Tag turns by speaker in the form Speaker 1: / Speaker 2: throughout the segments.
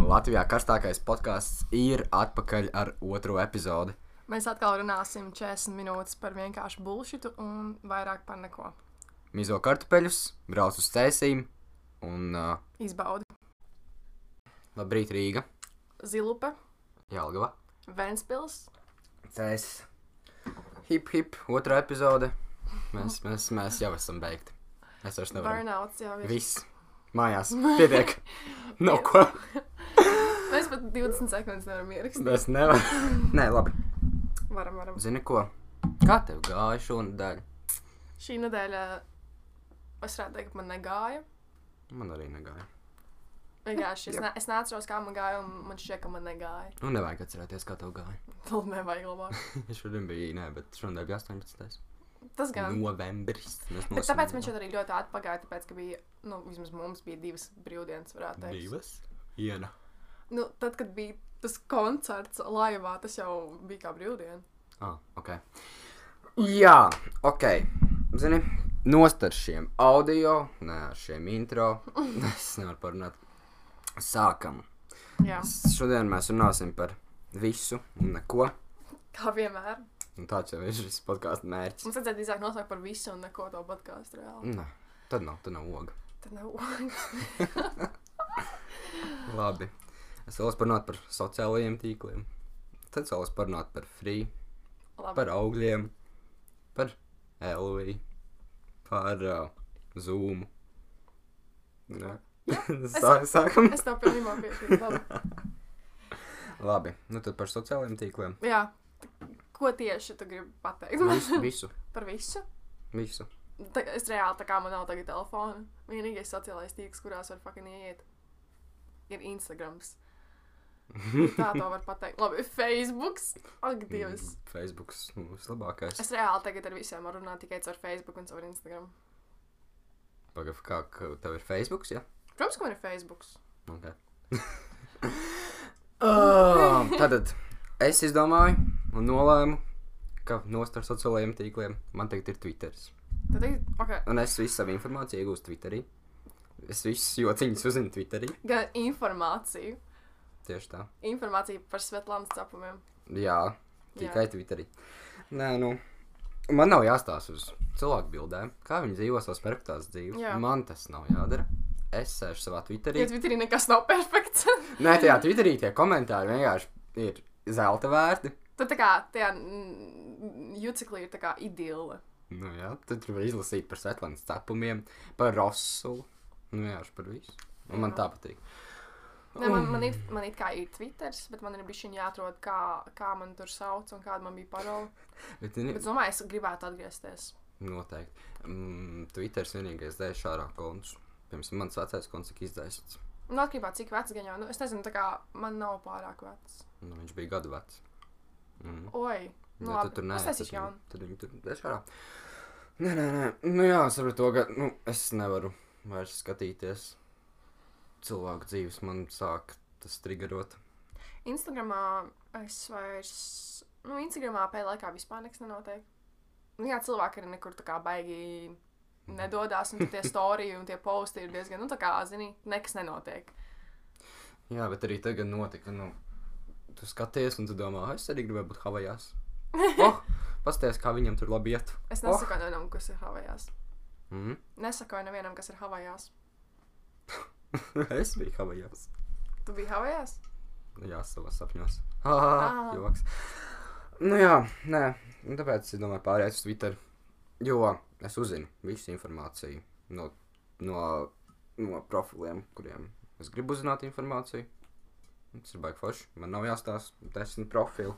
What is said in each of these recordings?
Speaker 1: Latvijā karstākais podkāsts ir atpakaļ ar otro epizodi.
Speaker 2: Mēs atkal runāsim 40 minūtes par vienkāršu bullshitu un vairāk par neko.
Speaker 1: Mizo kartupeļus, braucu uz cēsīm un uh,
Speaker 2: Izbaudi
Speaker 1: labrīt Rīga,
Speaker 2: zilupe,
Speaker 1: Jālgava.
Speaker 2: Vēnspils.
Speaker 1: Cēs. Hip hip, otrā epizode. Mēs, mēs, mēs jau esam beigti. Es vairs nevaru.
Speaker 2: Burnouts jau ir.
Speaker 1: Viss. Mājās. Pietiek. No ko?
Speaker 2: Mēs pat 20 sekundes nevaram ierakstīt.
Speaker 1: Es nevaru. Nē, labi.
Speaker 2: Varam, varam.
Speaker 1: Zini ko? Kā tev gāja šonadēļ?
Speaker 2: Šī nedēļa es varētu teikt, man negāja.
Speaker 1: Man arī negāja.
Speaker 2: Vienkārši es, ne, es neatceros, kā man gāja, un man šķiet, ka man negāja.
Speaker 1: Nu, nevajag atcerēties, kā tev gāja.
Speaker 2: Tad man vajag labāk.
Speaker 1: Šodien bija, nē, bet šonadēļ bija 18.
Speaker 2: Tas gan.
Speaker 1: novembris. Mēs
Speaker 2: Bet tāpēc
Speaker 1: nosvinējām.
Speaker 2: viņš arī ļoti atpakaļ, tāpēc, ka bija, nu, vismaz mums bija divas brīvdienas, varētu teikt.
Speaker 1: Divas? Viena.
Speaker 2: Nu, tad, kad bija tas koncerts laivā, tas jau bija kā brīvdiena.
Speaker 1: Ah, ok. Jā, ok. Zini, nost ar šiem audio, nē, ar šiem intro. Es nevaru parunāt. Sākam.
Speaker 2: Jā,
Speaker 1: Šodien mēs runāsim par visu un neko.
Speaker 2: kā vienmēr.
Speaker 1: Un tāds jau ir šis podkāstu mērķis.
Speaker 2: Mums vajadzētu drīzāk nosaukt par visu un neko to podkāstu reāli.
Speaker 1: Nē, tad nav, tad nav oga.
Speaker 2: Tad nav ogas.
Speaker 1: Labi. Es vēlos parunāt par sociālajiem tīkliem. Tad es vēlos parunāt par free,
Speaker 2: Labi.
Speaker 1: par augļiem, par Elviju, par uh, Zoom. Nē, Sā, sākam.
Speaker 2: Es tev pilnībā piekrītu. labi.
Speaker 1: Labi, nu tad par sociālajiem tīkliem.
Speaker 2: Jā, t- ko tieši tu gribi pateikt man
Speaker 1: Visu, visu.
Speaker 2: par visu?
Speaker 1: visu.
Speaker 2: Tā, es reāli tā kā man nav tagad telefona. Vienīgais sociālais tīkls, kurās var fucking ieiet, ir Instagrams. Tā to var pateikt. Labi, Facebook. Ak,
Speaker 1: Mm.
Speaker 2: Dievs.
Speaker 1: Facebook nu, vislabākais.
Speaker 2: Es reāli tagad ar visiem varu runāt tikai caur Facebook un caur Instagram.
Speaker 1: Pagaidām, kā ka tev ir Facebook? Ja?
Speaker 2: Protams, ka man ir Facebook.
Speaker 1: Okay. oh, tātad es izdomāju un nolēmu, ka nost ar sociālajiem tīkliem man tagad ir Twitter.
Speaker 2: Tad, ir- ok,
Speaker 1: Un es visu savu informāciju iegūstu Twitterī. Es visus jociņus uzzinu Twitterī.
Speaker 2: gan informāciju.
Speaker 1: Tieši tā.
Speaker 2: Informācija par Svetlānas cepumiem.
Speaker 1: Jā, tikai Jā. Twitterī. Nē, nu, man nav jāstāsta uz cilvēku bildēm, kā viņi dzīvo savas perfektās dzīves.
Speaker 2: Jā.
Speaker 1: Man tas nav jādara. Es sēžu savā Twitterī.
Speaker 2: Ja Twitterī nekas nav perfekts,
Speaker 1: Nē, tajā Twitterī tie komentāri vienkārši ir zelta vērti.
Speaker 2: tad tā kā tajā mm, juceklī ir tā kā idila.
Speaker 1: Nu, jā, tad tur var izlasīt par Svetlānas cepumiem, par Rosulu. Nu, jā, par visu. Un man
Speaker 2: Jā.
Speaker 1: tā patīk.
Speaker 2: Ne, man, man, it, man it kā ir Twitter, bet man ir bijis jāatrod, kā, kā man tur sauc un kāda man bija parole.
Speaker 1: Bet, zini,
Speaker 2: Bet es domāju, es gribētu atgriezties.
Speaker 1: Noteikti. Mm, Twitter vienīgais dēļ šādā konta. Pirms mans vecais konts tika izdzēsts.
Speaker 2: Nu, atkarībā no cik vecs gan jau. Nu, es nezinu, tā kā man nav pārāk vecs.
Speaker 1: Nu, viņš bija gadu vecs. Mm.
Speaker 2: Oi,
Speaker 1: Ja
Speaker 2: nu,
Speaker 1: tu
Speaker 2: labi.
Speaker 1: tur nē,
Speaker 2: Es
Speaker 1: tad,
Speaker 2: taisīšu jaunu.
Speaker 1: viņi- tad viņi tur dešā. Nē, nē, nē. Nu, jā, es saprotu, to, ka nu, es nevaru vairs skatīties. Cilvēku dzīves man sāk tas triggerot.
Speaker 2: Instagramā es vairs, nu, Instagramā pēdējā laikā vispār nekas nenotiek. Nu, jā, cilvēki arī nekur tā kā baigi
Speaker 1: Mhm.
Speaker 2: nedodas, un tur tie stāstījumi un tie posti ir diezgan, nu, tā kā, zini, nekas nenotiek.
Speaker 1: Jā, bet arī tagad notika. Nu, tu skaties, un tu domā, "Ah, es arī gribēju būt Havajās. Oh, Pastāstiet, kā viņam tur labi iet.
Speaker 2: Es
Speaker 1: Oh.
Speaker 2: nesaku nevienam, kas ir Havajās.
Speaker 1: Mm.
Speaker 2: Nesaku nevienam, kas ir Havajās.
Speaker 1: es biju Havajās.
Speaker 2: Tu biji Havajās?
Speaker 1: Jā, savos sapņos. Ah,
Speaker 2: Ah.
Speaker 1: joks. Nu jā, nē, nu tāpēc es domāju, pārējais uz Twitter. Jo es uzzinu visu informāciju no, no, no profiliem, kuriem es gribu uzzināt informāciju. Un Tas ir baigi forši. Man nav jāstāsta desmit profilu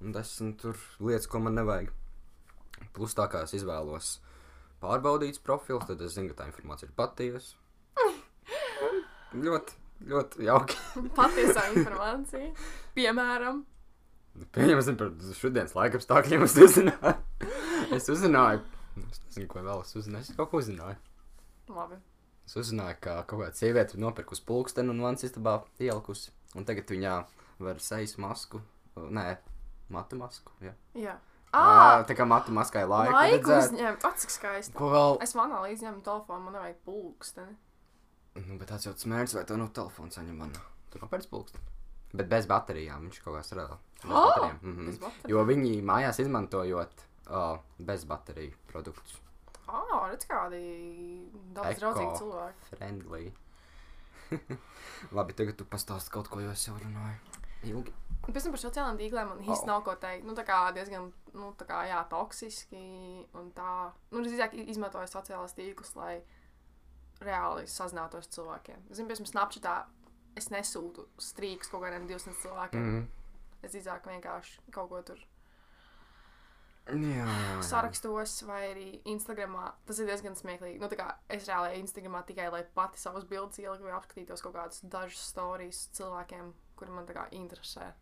Speaker 1: un desmit tur lietas, ko man nevajag. Plus tā kā es izvēlos pārbaudīts profils, tad es zinu, ka tā informācija ir patiesa. ļoti, ļoti jauki.
Speaker 2: Patiesā informācija. Piemēram,
Speaker 1: Pieņemsim par šodienas laika apstākļiem. Es uzzināju, es uzzināju, nu, es nezinu, ko vēl es uzzināju. Es kaut ko uzzināju.
Speaker 2: labi.
Speaker 1: Es uzzināju, ka kaut kāda sieviete ir nopirkusi pulksteni un vans istabā ielikusi. Un tagad viņā var sejas masku. Nē, matu masku. Jā.
Speaker 2: Jā,
Speaker 1: Ā,
Speaker 2: ah,
Speaker 1: tā kā matu maskai laiku.
Speaker 2: laiku
Speaker 1: redzēt.
Speaker 2: uzņemt. Cik skaisti.
Speaker 1: Ko vēl?
Speaker 2: Es manā līdzi ņemu telefonu, man vajag pulksteni.
Speaker 1: Nu, bet tāds jau tas mērķis, vai to no telefona nu, saņem man. Tur nopērts pulksteni. Bet bez baterijām viņš kaut kā strādā. Bez
Speaker 2: Ah!
Speaker 1: baterijām. Mhm.
Speaker 2: Bez baterijas.
Speaker 1: Jo viņi mājās izmantojot uh, bez bateriju produktus.
Speaker 2: Ah, redz, kādi daudz
Speaker 1: Eko.
Speaker 2: draudzīgi cilvēki.
Speaker 1: Friendly. Labi, tagad tu pastāsti kaut ko, jo es jau runāju. Ilgi.
Speaker 2: Un Pēc tam par sociālajiem tīkliem man īsti
Speaker 1: Au.
Speaker 2: nav ko teikt. Nu, tā kā diezgan, nu, tā kā, jā, toksiski un tā. Nu, drīzāk i- izmantoju sociālos tīklus, lai reāli sazinātos ar cilvēkiem. Zinu, piemēram, Snapchatā es nesūtu strīkus kaut kādiem 200 cilvēkiem. Mm.
Speaker 1: Mm.
Speaker 2: Es drīzāk vienkārši kaut ko tur
Speaker 1: Jā, jā, jā.
Speaker 2: sarakstos, vai arī Instagramā. Tas ir diezgan smieklīgi. Nu, tā kā es reāli eju Instagramā tikai lai pati savus bildes ieliku vai apskatītos kaut kādus dažus stāstus cilvēkiem, kuri man tā kā interesē.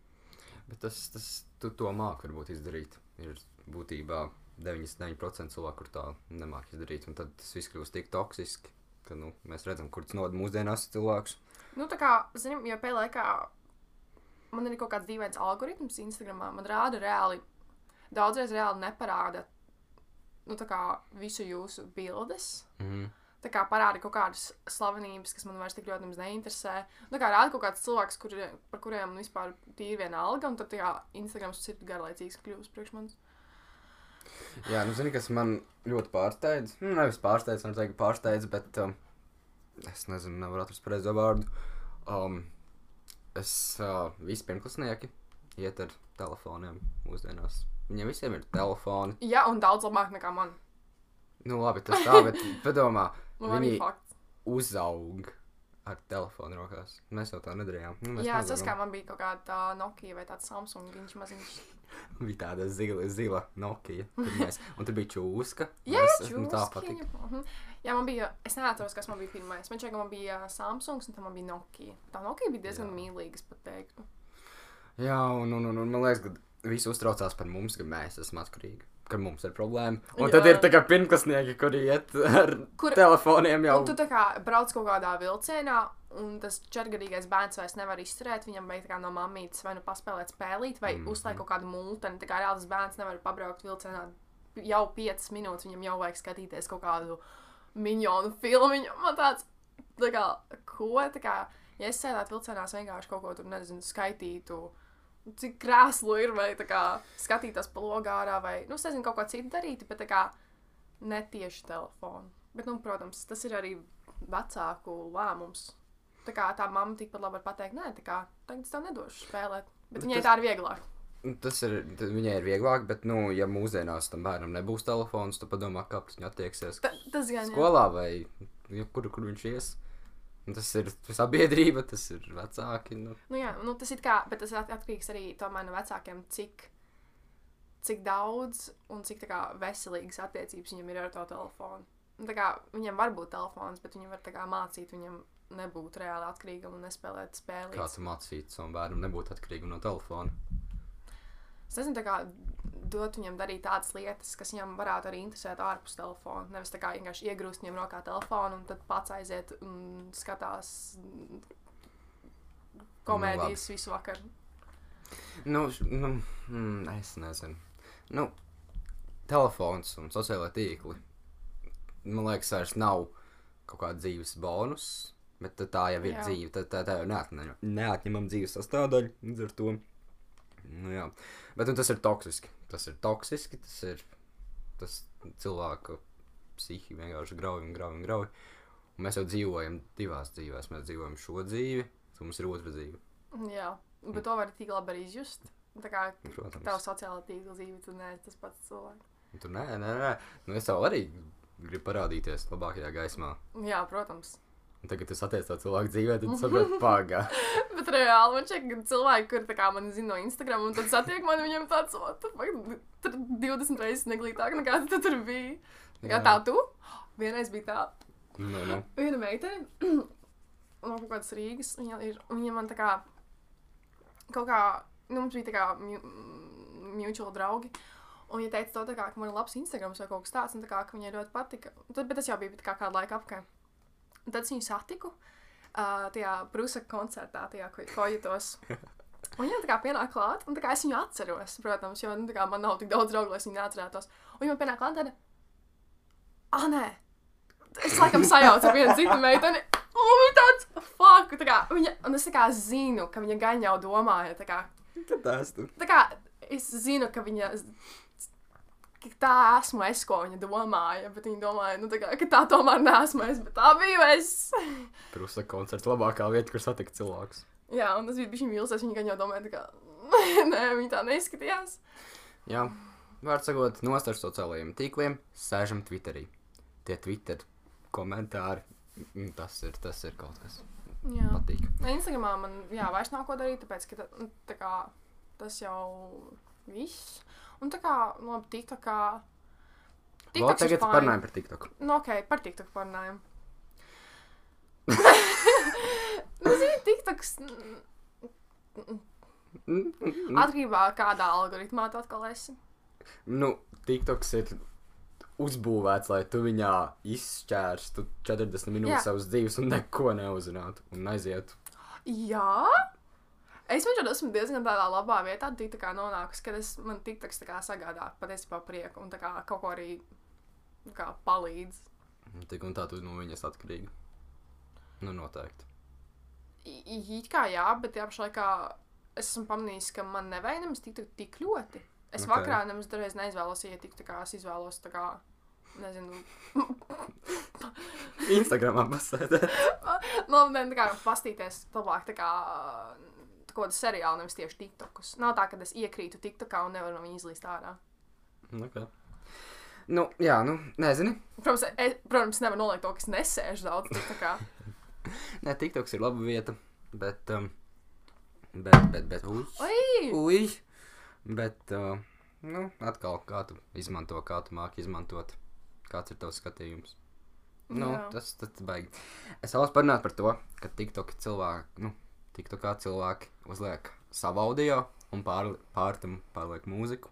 Speaker 1: Bet tas, tas tu to māki varbūt izdarīt. Ir būtībā 99% cilvēku, kur tā nemāki izdarīt. Un tad tas viss kļūst tik toksiski, ka nu, mēs redzam, kur tas nod mūsdienās cilvēks.
Speaker 2: Nu, tā kā, zinām, jau pēdējā laikā man ir kaut kāds dīvains algoritms Instagramā. Man rāda reāli, daudzreiz reāli neparāda nu, tā kā, visu jūsu bildes.
Speaker 1: Mm.
Speaker 2: tā kā parāda kaut kādas slavenības, kas man vairs tik ļoti nemaz neinteresē. Nu, Tā kā rāda kaut kāds cilvēks, kur, par kuriem man vispār tīri viena alga, un tad tā kā Instagrams ir garlaicīgs kļūst priekš manis.
Speaker 1: Jā, nu, zini, kas man ļoti pārsteidz. Nu, nevis pārsteidz, man teikt, pārsteidz, bet um, es nezinu, nevaru atrast pareizo vārdu. Um, es uh, visi pirmklasnieki iet ar telefoniem mūsdienās. Viņiem visiem ir telefoni.
Speaker 2: Jā, un daudz labāk nekā man.
Speaker 1: Nu, labi, tas tā, bet padomā,
Speaker 2: Man arī
Speaker 1: viņi
Speaker 2: fakts.
Speaker 1: uzaug ar telefonu rokās. Mēs jau tā nedarījām. Nu, mēs
Speaker 2: Jā,
Speaker 1: nezaugām.
Speaker 2: tas kā man bija kaut kāda tā Nokia vai tāds Samsung, viņš maziņš.
Speaker 1: bija tāda zila, zila Nokia. Tur mēs, un tur bija čūska.
Speaker 2: Jā,
Speaker 1: Mēs-
Speaker 2: čūski.
Speaker 1: nu, tā patika.
Speaker 2: Mhm. Jā, man bija, es neatceros, kas man bija pirmais. Man šķiet, ka man bija Samsungs un tam man bija Nokia. Tā Nokia bija diezgan
Speaker 1: Jā.
Speaker 2: mīlīga, es pat teiktu.
Speaker 1: Jā, un, un, un, un man liekas, ka visi uztraucās par mums, ka mēs esam atkarīgi, ka mums ir problēma. Un
Speaker 2: Jā.
Speaker 1: Jā. tad ir tā kā pirmklasnieki, kuri iet ar
Speaker 2: Kur-
Speaker 1: Kur... telefoniem jau.
Speaker 2: Un tu tā kā brauc kaut kādā vilcienā, un tas četrgadīgais bērns vairs nevar izturēt. Viņam vajag tā kā no mammītes vai nu paspēlēt spēlīt, vai mm
Speaker 1: Mhm.
Speaker 2: -hmm. uzliek kaut kādu multeni. Tā kā reāls bērns nevar pabraukt vilcienā jau 5 minūtes, viņam jau vajag skatīties kaut kādu minionu filmu. Man tāds, tā kā, ko? Tā kā, ja es sēdētu vilcienā, es vienkārši kaut ko tur nezinu, skaitītu. Cik krēslu ir, vai tā kā skatīties pa logā ārā, vai, nu, es nezinu, kaut ko citu darīt, bet tā kā ne tieši telefonu. Bet, nu, protams, tas ir arī vecāku lēmums. Tā kā tā mamma tikpat labi var pateikt, nē, tā kā tagad es tev nedošu spēlēt. Bet
Speaker 1: Bet
Speaker 2: viņai
Speaker 1: tas-
Speaker 2: tā ir vieglāk.
Speaker 1: Nu, Tas ir, tad viņai ir vieglāk, bet, nu, ja mūsdienās tam bērnam nebūs telefons, tad padomā, kā pret viņu attieksies.
Speaker 2: Ta, tas gan ir.
Speaker 1: skolā vai ja kur, kur viņš ies. Un Tas ir sabiedrība, tas ir vecāki. Nu.
Speaker 2: Nu, jā, nu, tas ir kā, bet tas at- atkarīgs arī tomēr no vecākiem, cik, cik daudz un cik tā kā, veselīgas attiecības viņam ir ar to telefonu. Nu, tā kā, viņam var būt telefons, bet viņam var tā kā, mācīt viņam nebūt reāli atkarīgam un nespēlēt spēli.
Speaker 1: Kāds mācīt savam bērnam nebūt atkarīgam no telefona?
Speaker 2: Es nezinu, tā kā dot viņam darīt tādas lietas, kas viņam varētu arī interesēt ārpus telefona. Nevis tā kā vienkārši iegrūst viņam rokā telefonu un tad pats aiziet un skatās mm, komēdijas nu, visu vakaru.
Speaker 1: Nu, š- nu mm, es nezinu. Nu, telefons un sociālai tīkli. Man liekas, vairs nav kaut kāda dzīves bonus, bet tad tā jau ir
Speaker 2: Jā.
Speaker 1: jā. dzīve. Tā, tā, tā jau neatņem, neatņemama dzīves sastāvdaļa. Līdz ar to. Nu, jā. Bet nu, tas ir toksiski. Tas ir toksiski. Tas ir tas cilvēka psihi vienkārši grauj un grauj un grauj. Un mēs jau dzīvojam divās dzīvēs. Mēs dzīvojam šo dzīvi, tad mums ir otra dzīve.
Speaker 2: Jā, bet to var tik labi arī izjust. Tā kā
Speaker 1: Protams.
Speaker 2: tev sociāla tīkla dzīve, tu neesi tas pats cilvēks.
Speaker 1: Un Tur nē, nē, nē. Nu, es jau arī gribu parādīties labākajā gaismā.
Speaker 2: Jā, protams.
Speaker 1: Un tagad, kad es attiecu to cilvēku dzīvē, tad saprotu, pagā.
Speaker 2: Bet reāli man šeit ir cilvēki, kuri tā kā man zina no Instagram, un tad satiek mani viņam tāds, o, tu fuck, tur 20 reizes neglītāk nekā tu tur biji. Tā kā
Speaker 1: Jā.
Speaker 2: tā tu? Vienreiz bija tā.
Speaker 1: Nu, nu.
Speaker 2: Viena meitene no kaut kādas Rīgas. Viņa, ir, viņa man tā kā kaut kā, nu, mums bija tā kā mu- mutual draugi. Un viņa teica, to, tā kā, ka man ir labs Instagram vai kaut kas tāds, un tā kā, ka viņai ļoti patika. Un Tad, bet tas jau bija tā kā kādu laiku apkārt. Un Tad es viņu satiku uh, tajā Brūsaka koncertā, tajā ko- kojitos. Un viņa tā kā pienāk klāt, un tā kā es viņu atceros, protams, jo nu, tā kā man nav tik daudz draugu, lai es viņu neatcerētos. Un viņa man pienāk klāt, tad, ah, nē, es laikam sajaucu ar vienu citu meiteni. Un viņa tāds, fuck, tā kā, viņa, un es tā kā zinu, ka viņa gan jau domāja, tā kā,
Speaker 1: Tad tas tur.
Speaker 2: tā kā es zinu, ka viņa, ka tā esmu es, ko viņa domāja, bet viņa domāja, nu, tā kā, ka tā tomēr neesmu es, bet tā biju es.
Speaker 1: Prusa koncerts labākā vieta, kur satikt cilvēks.
Speaker 2: Jā, un tas bija bišķi mīlestības, viņa gan jau domāja, tā kā, nē, viņa tā neizskatījās.
Speaker 1: Jā, var sakot, nostāj sociālajiem tīkliem, sēžam Twitterī. Tie Twitter komentāri, mm, tas ir, tas ir kaut kas
Speaker 2: Jā.
Speaker 1: patīk.
Speaker 2: Instagramā man jā, vairs nav ko darīt, tāpēc ka ta- nu, tā kā, tas jau viss. Un tā kā, nu, labi, tika kā.
Speaker 1: Vēl tagad parunājam par TikTok.
Speaker 2: Nu, ok, par tiktu parunājam. nu, zini, tiktoks. mm,
Speaker 1: Mm,
Speaker 2: Atkarībā no kādā algoritmā tu atkal esi.
Speaker 1: Nu, TikToks ir uzbūvēts, lai tu viņā izšķērstu 40
Speaker 2: Jā.
Speaker 1: minūtes savas dzīves un neko neuzzinātu un aizietu.
Speaker 2: Jā. Es domāju, ka esmu diezgan tādā labā vietā, tik tā kā nonākusi, ka es man tik tā kā sagādā patiesībā prieku un tā kā kaut ko arī tā kā, palīdz.
Speaker 1: Tik un tā tu no viņas atkarīgi. Nu, noteikti.
Speaker 2: It kā jā, bet tajā pašā laikā es esmu pamanījis, ka man nevajag nemaz tik, tik ļoti. Es
Speaker 1: Ok.
Speaker 2: okay. vakarā nemaz dažreiz neizvēlos iet, tik tā kā es izvēlos tā kā. Nezinu,
Speaker 1: Instagramā pasēdē.
Speaker 2: no, ne, tā kā pastīties labāk, tā kā tā kādu seriālu, nevis tieši tiktokus. Nav tā, ka es iekrītu tiktokā un nevaru no viņa izlīst ārā.
Speaker 1: Nu, kā? Nu, jā, nu, nezini.
Speaker 2: Protams, es, protams nevaru nolikt to, ka es nesēžu daudz tiktokā.
Speaker 1: Nē, TikToks ir laba vieta, bet. Um, bet, bet, bet. Ui!
Speaker 2: Ui!
Speaker 1: Ui! Bet, uh, nu, atkal, kā tu izmanto, kā tu māki izmantot. Kāds ir tavs skatījums? Nu,
Speaker 2: Jā.
Speaker 1: tas tas baigi. Es vēlos parunāt par to, ka TikTok cilvēki, nu, TikTokā cilvēki uzliek savu audio un pār, pār tam pārliek mūziku.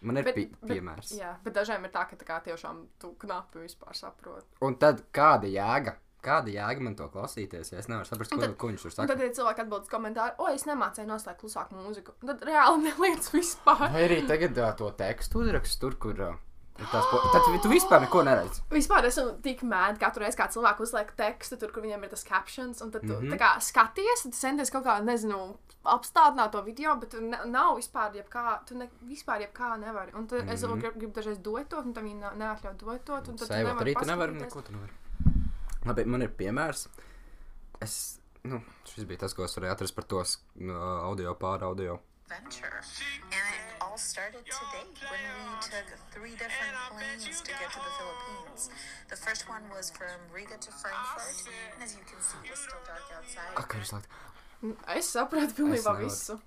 Speaker 1: Man ir
Speaker 2: Bet-
Speaker 1: bet, pi
Speaker 2: bet-
Speaker 1: piemērs.
Speaker 2: Jā, bet dažiem ir tā, ka tā kā tiešām tu knapi vispār saproti.
Speaker 1: Un tad kāda jēga? Kāda jēga man to klausīties? Ja es nevaru saprast,
Speaker 2: Un
Speaker 1: ko,
Speaker 2: tad-
Speaker 1: ko viņš tur
Speaker 2: Un
Speaker 1: saka.
Speaker 2: tad ir cilvēki atbild uz komentāru, o, es nemācēju noslēgt klusāku mūziku. Un Tad reāli neliec vispār.
Speaker 1: Vai arī tagad uh, to tekstu uzrakstu tur, kur uh, ir tās po... Tad vi- tu vispār neko neredzi.
Speaker 2: Vispār esmu tik mēdz, katru reizi, kad cilvēku uzliek tekstu, tur, kur viņiem ir tas captions, un tad tu mm
Speaker 1: Mhm.
Speaker 2: -hmm. tā kā skaties, tad centies kaut kā, nezinu, apstādināt to video, bet tur ne, nav vispār jebkā, tu ne, vispār jebkā nevari. Un tad mm -hmm. es vēl
Speaker 1: Mhm.
Speaker 2: gribu grib dažreiz dot to, un tam viņi ne- neatļauj dot to, un Nu, tad tu
Speaker 1: Sēvot
Speaker 2: nevari.
Speaker 1: arī tu nevari,
Speaker 2: paskatīties.
Speaker 1: neko tu nevari. Labi, man ir piemērs. Es, nu, šis bija tas, ko es varēju atrast par to s- uh, audio pār audio.
Speaker 3: adventure. And it all started today when we took three different planes to get to the Philippines. The first one was from Riga to Frankfurt, and as you can see, it was still dark outside.
Speaker 1: Ak, ir slēgt.
Speaker 2: Es sapratu
Speaker 1: Es
Speaker 2: pilnībā
Speaker 1: nevaru.
Speaker 2: visu.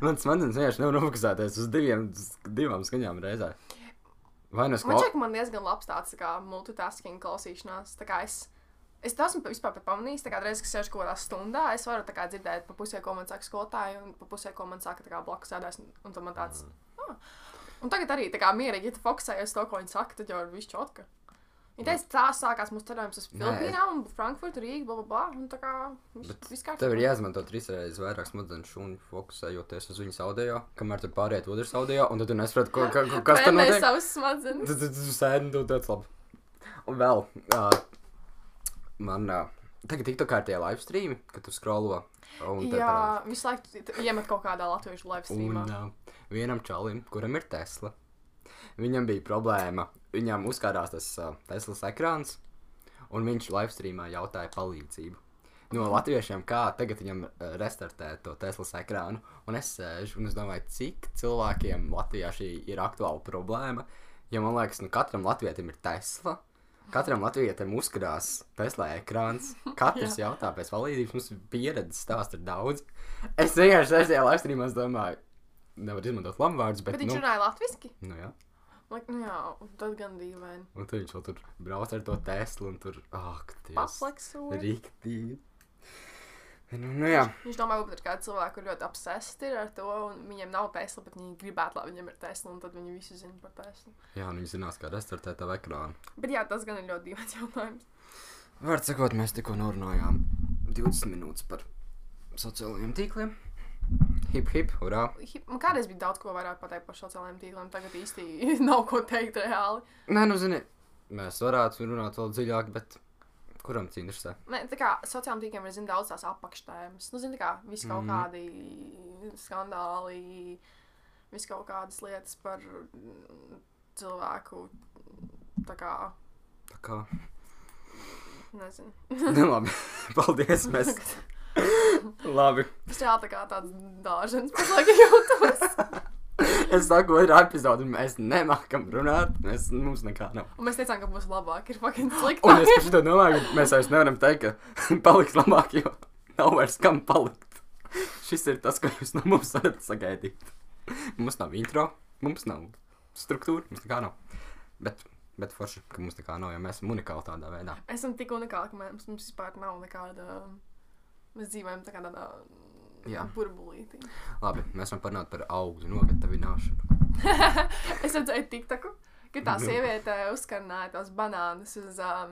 Speaker 1: Man smadzenes vienkārši nevar nofokusēties uz diviem, uz divām skaņām reizē. Vai nu es
Speaker 2: Man
Speaker 1: klausos?
Speaker 2: liekas, man diezgan labs tāds tā kā multitasking klausīšanās. Tā kā es, es to esmu vispār pat pamanījis. tā kā Reizes, kad sēžu kaut kādā stundā, es varu tā kā dzirdēt pa pusē, ko man saka skolotāji, un pa pusē, ko man saka tā kā blakus sēdēs. un- Un, tad man tāds,
Speaker 1: Mm.
Speaker 2: "Ah." un tagad arī tā kā mierīgi, ja tu fokusējies uz to, ko viņi saka, tad jau ir viss čotka. Viņa teica, tā sākās mūsu ceļojums uz Filipīnām, un Frankfurtu, Rīgu, bla, bla, bla. Un tā kā viss kārtībā.
Speaker 1: Tev ir jāizmanto trīs reizes vairāk smadzenes šūnu, fokusējoties uz viņas audio, kamēr tur pāriet otrs audio, un tad tu nesaproti, ko, ko, ko, kas tur
Speaker 2: Pēmēs
Speaker 1: notiek.
Speaker 2: savas smadzenes.
Speaker 1: Tas ir sēdi, tu tāds labi. Un vēl, uh, man uh, tagad tiktu kā ar tie live streami, kad tu scrollo. Un te parāda.
Speaker 2: Jā, visu laiku tu- tu iemet kaut kādā latviešu live
Speaker 1: Nu, Un
Speaker 2: streamā.
Speaker 1: uh, vienam čalim, kuram ir Tesla, er viņam bija problēma. Viņam uzkādās tas uh, Teslas ekrāns, un viņš live streamā jautāja palīdzību. No latviešiem, kā tagad viņam uh, restartēt to Teslas ekrānu, un es sēžu un es domāju, cik cilvēkiem Latvijā šī ir aktuāla problēma. Jo man liekas, nu katram latvijam ir Tesla. Katram latvijam uzkrās Tesla ekrāns. Katrs jautā pēc palīdzības, mums pieredzes stāsta ir daudz. Es vienkārši sēžu live streamā, es domāju, nevar izmantot lamuvārdus, bet,
Speaker 2: Bet
Speaker 1: bet
Speaker 2: viņš
Speaker 1: nu,
Speaker 2: runāja latviešu.
Speaker 1: nu, jā.
Speaker 2: Like, nu jā, tad gan dīvaini.
Speaker 1: Un tad viņš vēl tur brauc ar to Teslu un tur ak, tas
Speaker 2: Paslēgts.
Speaker 1: rīktīgi. Nu, nu jā,
Speaker 2: Viņš domā, ka ir kāda cilvēka, kur ļoti obsesīti ir ar to, un viņiem nav Tesla, bet viņi gribētu, lai viņiem ir Tesla, un tad viņi visu zina par Teslu.
Speaker 1: jā nu, viņi zinās, kā restartēt tavu ekrānu.
Speaker 2: Bet jā, tas gan ir ļoti dīvains jautājums.
Speaker 1: Var sakot, mēs tikko norunājām 20 minūtes par sociālajiem tīkliem. Hip, hip, hurrā!
Speaker 2: Hi- Man kādreiz bija daudz ko vairāk pateikt par sociālajiem tīkliem, tagad īsti nav ko teikt reāli.
Speaker 1: Nē, nu, zini, mēs varētu runāt vēl dziļāk, bet Kuram tas interesē?
Speaker 2: Nē, tā kā sociālajiem tīkliem ir zin, daudz tās apakštēmas. Nu, zin, tā kā vis kaut mm. kādi skandāli, vis kaut kādas lietas par mm, cilvēku. Tā kā,
Speaker 1: Tā kā.
Speaker 2: nezinu.
Speaker 1: Nu, labi. Paldies. Mēs. labi.
Speaker 2: Tas jā, tā kā tāds dāžens pašlaik jūtos.
Speaker 1: Es saku, ir epizode, un mēs nemākam runāt. Mēs, mums nekā nav.
Speaker 2: Un mēs teicām, ka būs labāk, ir fucking slikti.
Speaker 1: Un es par to domāju, ka mēs vairs nevaram teikt, ka paliks labāk, jo nav vairs kam palikt. Šis ir tas, ko jūs no mums varat sagaidīt. Mums nav intro, mums nav struktūra, mums nekā nav. Bet, bet forši, ka mums nekā nav, jo mēs esam unikāli tādā veidā.
Speaker 2: Esam tik unikāli, ka mums, mums vispār nav nekāda. Mēs dzīvojam tā kā tādā
Speaker 1: Jā.
Speaker 2: burbulītī.
Speaker 1: Labi, mēs varam parunāt par augļu nogatavināšanu.
Speaker 2: Es redzēju, tiktaku, ka tā sieviete uzkarināja tās banānas uz. Um,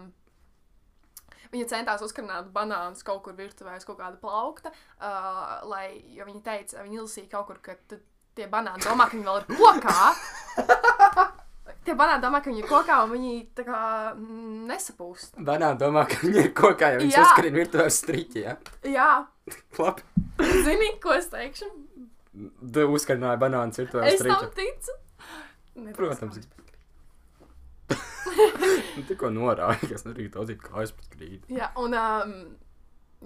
Speaker 2: Viņa centās uzkarnāt banānus kaut kur virtuvē uz kaut kāda plaukta, uh, lai, jo viņa teica, viņa ilusīja kaut kur, ka tu- tie banāni domā, ka viņi vēl ir kokā. tie banāni domā, ka viņi ir kokā un viņi tā kā mm, nesapūst.
Speaker 1: Banāna domā, ka viņi ir kokā, jo viņi
Speaker 2: Jā.
Speaker 1: uzkrīt virtuvē uz striķi, jā?
Speaker 2: Jā,
Speaker 1: Labi.
Speaker 2: zini, ko es teikšu?
Speaker 1: Tu uzkarināji banānu virtuvē uz
Speaker 2: Es tam
Speaker 1: striķi.
Speaker 2: ticu. Nedomāju.
Speaker 1: Protams. Nu, Tikko norāja, kas nerīk to zīt, kā es pat grīdu.
Speaker 2: Jā, un um,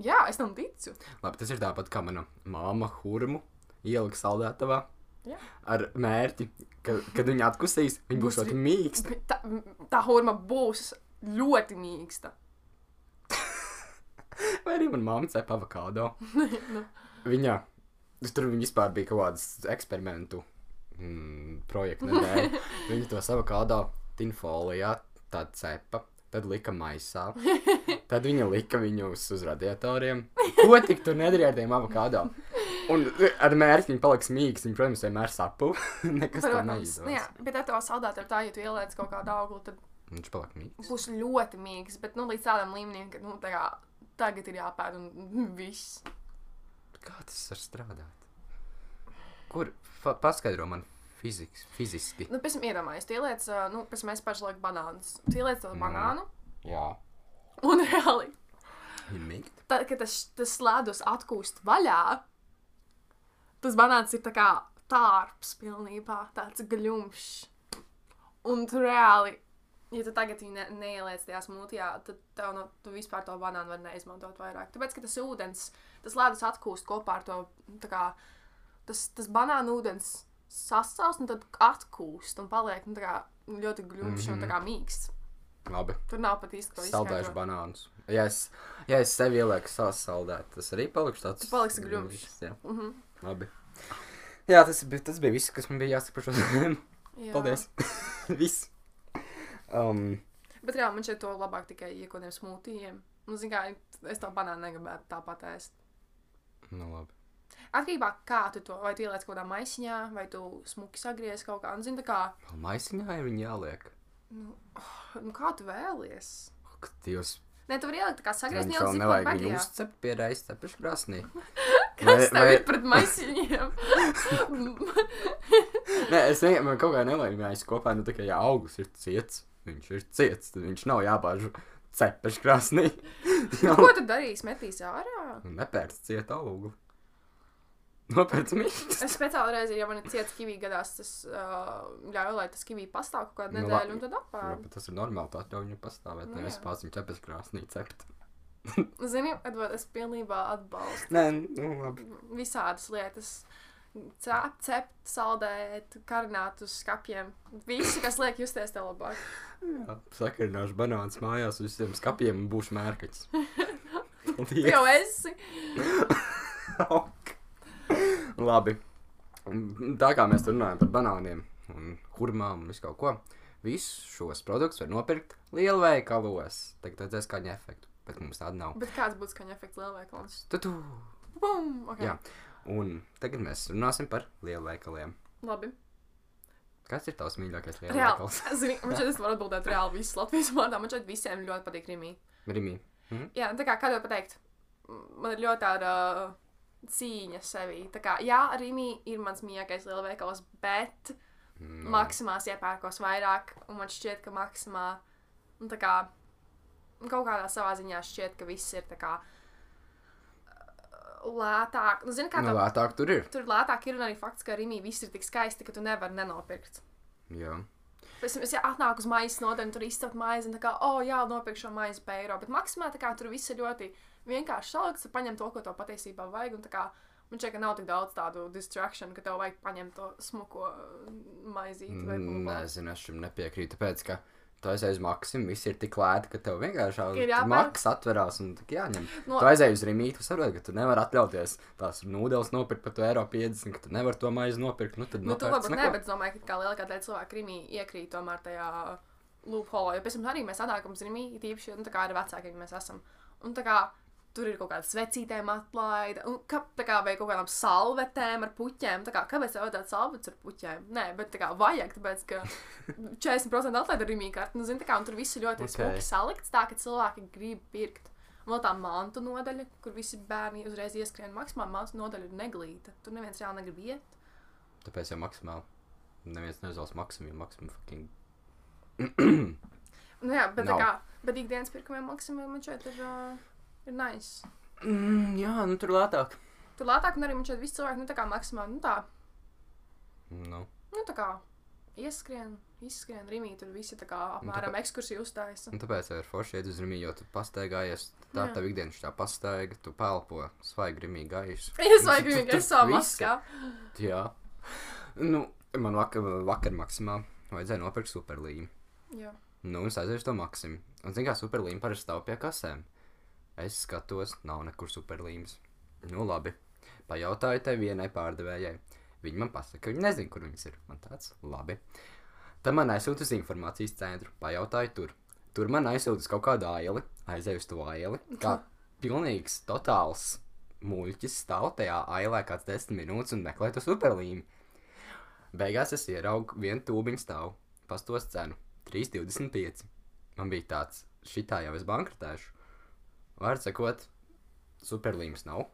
Speaker 2: jā, es tam ticu.
Speaker 1: Labi, tas ir tāpat kā mana māma hurmu ielika saldētavā.
Speaker 2: Jā.
Speaker 1: Ar mērķi, ka, kad viņi atkusīs, viņi būs
Speaker 2: Būs
Speaker 1: ļoti
Speaker 2: ri-
Speaker 1: mīksti.
Speaker 2: Tā, tā horma būs ļoti mīksta.
Speaker 1: Vai arī manā mamā cep avokado.
Speaker 2: Nu.
Speaker 1: Viņa tur viņa vispār bija kaut kādas eksperimentu mm, projekta nedēļa. Viņa to avokado tinfolijā tā cepa. Tad lika maisā. Tad viņa lika viņus uz radiatoriem. Ko tik tur nedarīja ar tiem avokado? Un e, ar mērķi viņa paliks mīgs. Viņa, protams, vienmēr sapu. Nekas tā
Speaker 2: Protams, nu jā,
Speaker 1: neizdevās.
Speaker 2: bet ar to saldētu, tā, ja tu ieliec kaut kādu auglu, tad
Speaker 1: Viņš paliek mīgs.
Speaker 2: būs ļoti mīksts. Bet nu, līdz tādam līmenim, ka nu, tā kā, tagad ir jāpēta un nu, viss.
Speaker 1: Kā tas var strādāt? Kur fa- paskaidro man fizikas, fiziski?
Speaker 2: Nu, pēc tam iedomājies, tu ieliec, ā, nu, pēc tam mēs pašlaik banānus. Tu ieliec to banānu
Speaker 1: Jā,
Speaker 2: un reāli.
Speaker 1: viņa mīgs.
Speaker 2: tad, kad tas, tas slēdus atkūst vaļā, tas banāns ir tā kā tārps pilnībā, tāds gļumšs. Un tu reāli, ja tu tagad viņu ne, neieliec tajā smūtijā, tad tev no, tu vispār to banānu var neizmantot vairāk. Tāpēc, ka tas ūdens, tas slēdus atkūst kopā ar to, tā kā tas, tas banānu ūdens sasals un tad atkūst un paliek, nu, tā kā ļoti gļumšs mm -hmm. un tā kā mīksts.
Speaker 1: Labi.
Speaker 2: Tur nav pat īsti ko
Speaker 1: Saldēšu
Speaker 2: izskaidrot.
Speaker 1: banānus. Ja es, ja es sev ielieku sasaldēt, tas arī paliks tāds.
Speaker 2: Tu paliksi Mhm. gļumšs.
Speaker 1: mīksts, Jā, mm -hmm. labi. Jā, tas, bija- tas bija viss, kas man bija jāsaka par šo tēmu.
Speaker 2: Jā.
Speaker 1: Paldies. viss. Um,
Speaker 2: Bet jā, man šeit to labāk tikai iekodiem smūtijiem. Nu, zin kā, es to banānu negribētu tāpat ēst.
Speaker 1: nu labi.
Speaker 2: Atkarībā no tā, kā tu to vai tu ieliec kaut kādā maisiņā, vai tu smuki sagriez kaut kā. Nu, zin, tā kā,
Speaker 1: Vēl maisiņā ir viņa jāliek.
Speaker 2: nu, kā tu vēlies?
Speaker 1: Ak, Dievs.
Speaker 2: Nē, tu vari ielikt tā kā sagriezt
Speaker 1: Viņš
Speaker 2: nelielu
Speaker 1: vēl
Speaker 2: zipari
Speaker 1: nevajag viņu
Speaker 2: bagajā.
Speaker 1: uzcept pie reizes cepušu krāsnī.
Speaker 2: Kas
Speaker 1: Vai-
Speaker 2: tev
Speaker 1: vai-
Speaker 2: ir pret maisiņiem?
Speaker 1: Nē, es vienkārši man kaut kā nelaimēju kopā, nu tā kā ja augus ir ciets, viņš ir ciets, tad viņš nav jābāž cepušu krāsnī. Jā.
Speaker 2: Nu, Ko tu darīsi? Metīs ārā?
Speaker 1: Un nepērc cietu augli. Nopērc mīkstu.
Speaker 2: Es speciāli reizi, ja man ir cieta kivī gadās, tas uh, ļauj, lai tas kivī pastāv kaut kādu
Speaker 1: Nu,
Speaker 2: nedēļu
Speaker 1: labi.
Speaker 2: un tad
Speaker 1: Jā,
Speaker 2: apēd.
Speaker 1: bet tas ir normāli, tā jau viņu pastāvēt,
Speaker 2: Nu,
Speaker 1: nevis
Speaker 2: jā.
Speaker 1: pārsim ķepes krāsnī cept.
Speaker 2: Zini, Edvard, es pilnībā atbalstu.
Speaker 1: Nē, nu labi.
Speaker 2: visādas lietas. Cept, cept, saldēt, karināt uz skāpiem. Viss, kas liek justies tev labāk.
Speaker 1: Jā, sakarināšu banāns mājās uz visiem skapiem un būšu mērkaķis.
Speaker 2: Tu
Speaker 1: Paldies.
Speaker 2: jau esi.
Speaker 1: Ok. labi. Mm, Tā kā mēs tur runājam par banāniem un hurmām un visu kaut ko, visus šos produktus var nopirkt lielveikalos. Tagad redzēs kāņa efektu, bet mums tāda nav.
Speaker 2: Bet kāds būtu skaņa efekts lielveikalams?
Speaker 1: Tad,
Speaker 2: Bum! Okay.
Speaker 1: Jā. un tagad mēs runāsim par lielveikaliem.
Speaker 2: Labi.
Speaker 1: Kas ir tavs mīļākais
Speaker 2: Reāli.
Speaker 1: lielveikals?
Speaker 2: Zini, man šeit es varu atbildēt reāli visu Latvijas vārdā. Man šeit visiem ļoti patīk rimī.
Speaker 1: Rimī.
Speaker 2: Jā, nu, tā kā kādā pateikt, man ir ļoti tāda cīņa sevī. Tā kā, jā, Rimī ir mans mīļākais lielveikals, bet
Speaker 1: Mm.
Speaker 2: Maksimās iepērkos vairāk, un man šķiet, ka maksimā nu, tā kā, Un Kaut kādā savā ziņā šķiet, ka viss ir tā kā uh, lētāk. Nu, zini, kā
Speaker 1: Nu,
Speaker 2: tev,
Speaker 1: lētāk tur ir.
Speaker 2: tur lētāk ir un arī fakts, ka Rīgā viss ir tik skaisti, ka tu nevari nenopirkt.
Speaker 1: Jā.
Speaker 2: Pēc tam es ja atnāku uz maijas nodaļu, tur izcelt maizi, un tā kā, oh, jā, nopirkšu šo maizi par eiro. Bet maksimā tā kā tur viss ir ļoti vienkārši salikts, tu paņem to, ko tev patiesībā vajag. un tā kā Man šķiet, ka nav tik daudz tādu distrakciju, ka tev vajag paņemt to smuko uh, maizīti vai
Speaker 1: Mm,
Speaker 2: blūzi.
Speaker 1: Nezinu, es tam nepiekrītu. Tāpēc, ka tu aizēji uz Maksimu, viss ir tik lēti, ka tev vienkārši
Speaker 2: Ir
Speaker 1: jau
Speaker 2: jāpērk.
Speaker 1: maks atverās un tik jāņem.
Speaker 2: No-
Speaker 1: No. Tu aizēji uz Rīgītu, saproti, ka tu nevari atļauties tās nūdeles nopirkt par to eiro 50, ka tu nevari to maizi nopirkt. Nu, tad
Speaker 2: Nu, tu
Speaker 1: nopērc
Speaker 2: varbūt ne,
Speaker 1: neko.
Speaker 2: bet es domāju, ka kā lielākā daļa cilvēku Rimī iekrīt tomēr tajā lūpholā. Jo pēc tam arī mēs atnākam uz Rimī, it īpaši, nu, tā kā ar vecākiem mēs esam. Un tā kā tur ir kaut kāda svecītēm atlaida, un kā, tā kā vai kaut kādām salvetēm ar puķēm. Tā kā kāpēc tev vajadzētu salvetes ar puķēm? Nē, bet tā kā vajag, tāpēc, ka 40% atlaida Rimī karti. Nu, zini, tā kā, un tur viss ir ļoti
Speaker 1: Ok.
Speaker 2: okay. smuki salikts, tā ka cilvēki grib pirkt. Un Vēl tā mantu nodaļa, kur visi bērni uzreiz ieskrien maksimā, mantu nodaļa ir neglīta. Tur neviens reāli negrib iet.
Speaker 1: Tāpēc jau maksimāli. Neviens neuzvēlas Maksimu, jo Maksimu fucking.
Speaker 2: Nu, jā, bet, no.
Speaker 1: Nav.
Speaker 2: kā, bet ikdienas pirkumiem maksimumam man šeit ir, uh, ir nice.
Speaker 1: Mm, jā, nu tur lētāk.
Speaker 2: Tur lētāk, un arī man šeit viss cilvēks, nu tā kā maksimumā, nu tā,
Speaker 1: Nu.
Speaker 2: nu tā kā ieskrien, izskrien, rimī, tur visi tā kā apmēram ekskursiju uztaisa.
Speaker 1: Nu, Un tāpēc jau ir forši iet uz Rīgītu, jo tu pastaigājies. Tā
Speaker 2: Jā.
Speaker 1: tev ikdienas tā pastaiga, tu pelpo svaigi Rīgītu gaisu.
Speaker 2: Es vajag rimīgi, es savu
Speaker 1: Viss ir
Speaker 2: maskā.
Speaker 1: Jā. Nu, man vakar, vakar maksimā vajadzēja nopirkt superlīmu.
Speaker 2: Jā.
Speaker 1: Nu, un es aizēju uz to maksimumu. Un, zināmā mērā, superlīma parasti stāv pie kasēm. Es skatos, nav nekur superlīmas. Nu, labi. Pajautāju tai vienai pārdevējai. Viņa man pasaka, ka viņa nezina, kur viņas ir. Man tāds, labi. Tad man aizsūta uz informācijas centru. Pajautāju tur. Tur man aizsūta uz kaut kādu aili. Aizēju uz to aili. Kā pilnīgs, totāls muļķis stāv tajā ailē kāds desmit minūtes un meklē to superlīmu. Beigās es ieraugu vienu tūbiņu stāvu. Pastos cenu. 3,25. Man bija tāds, šitā jau es bankrotēšu. Vārds sakot, superlīmas nav.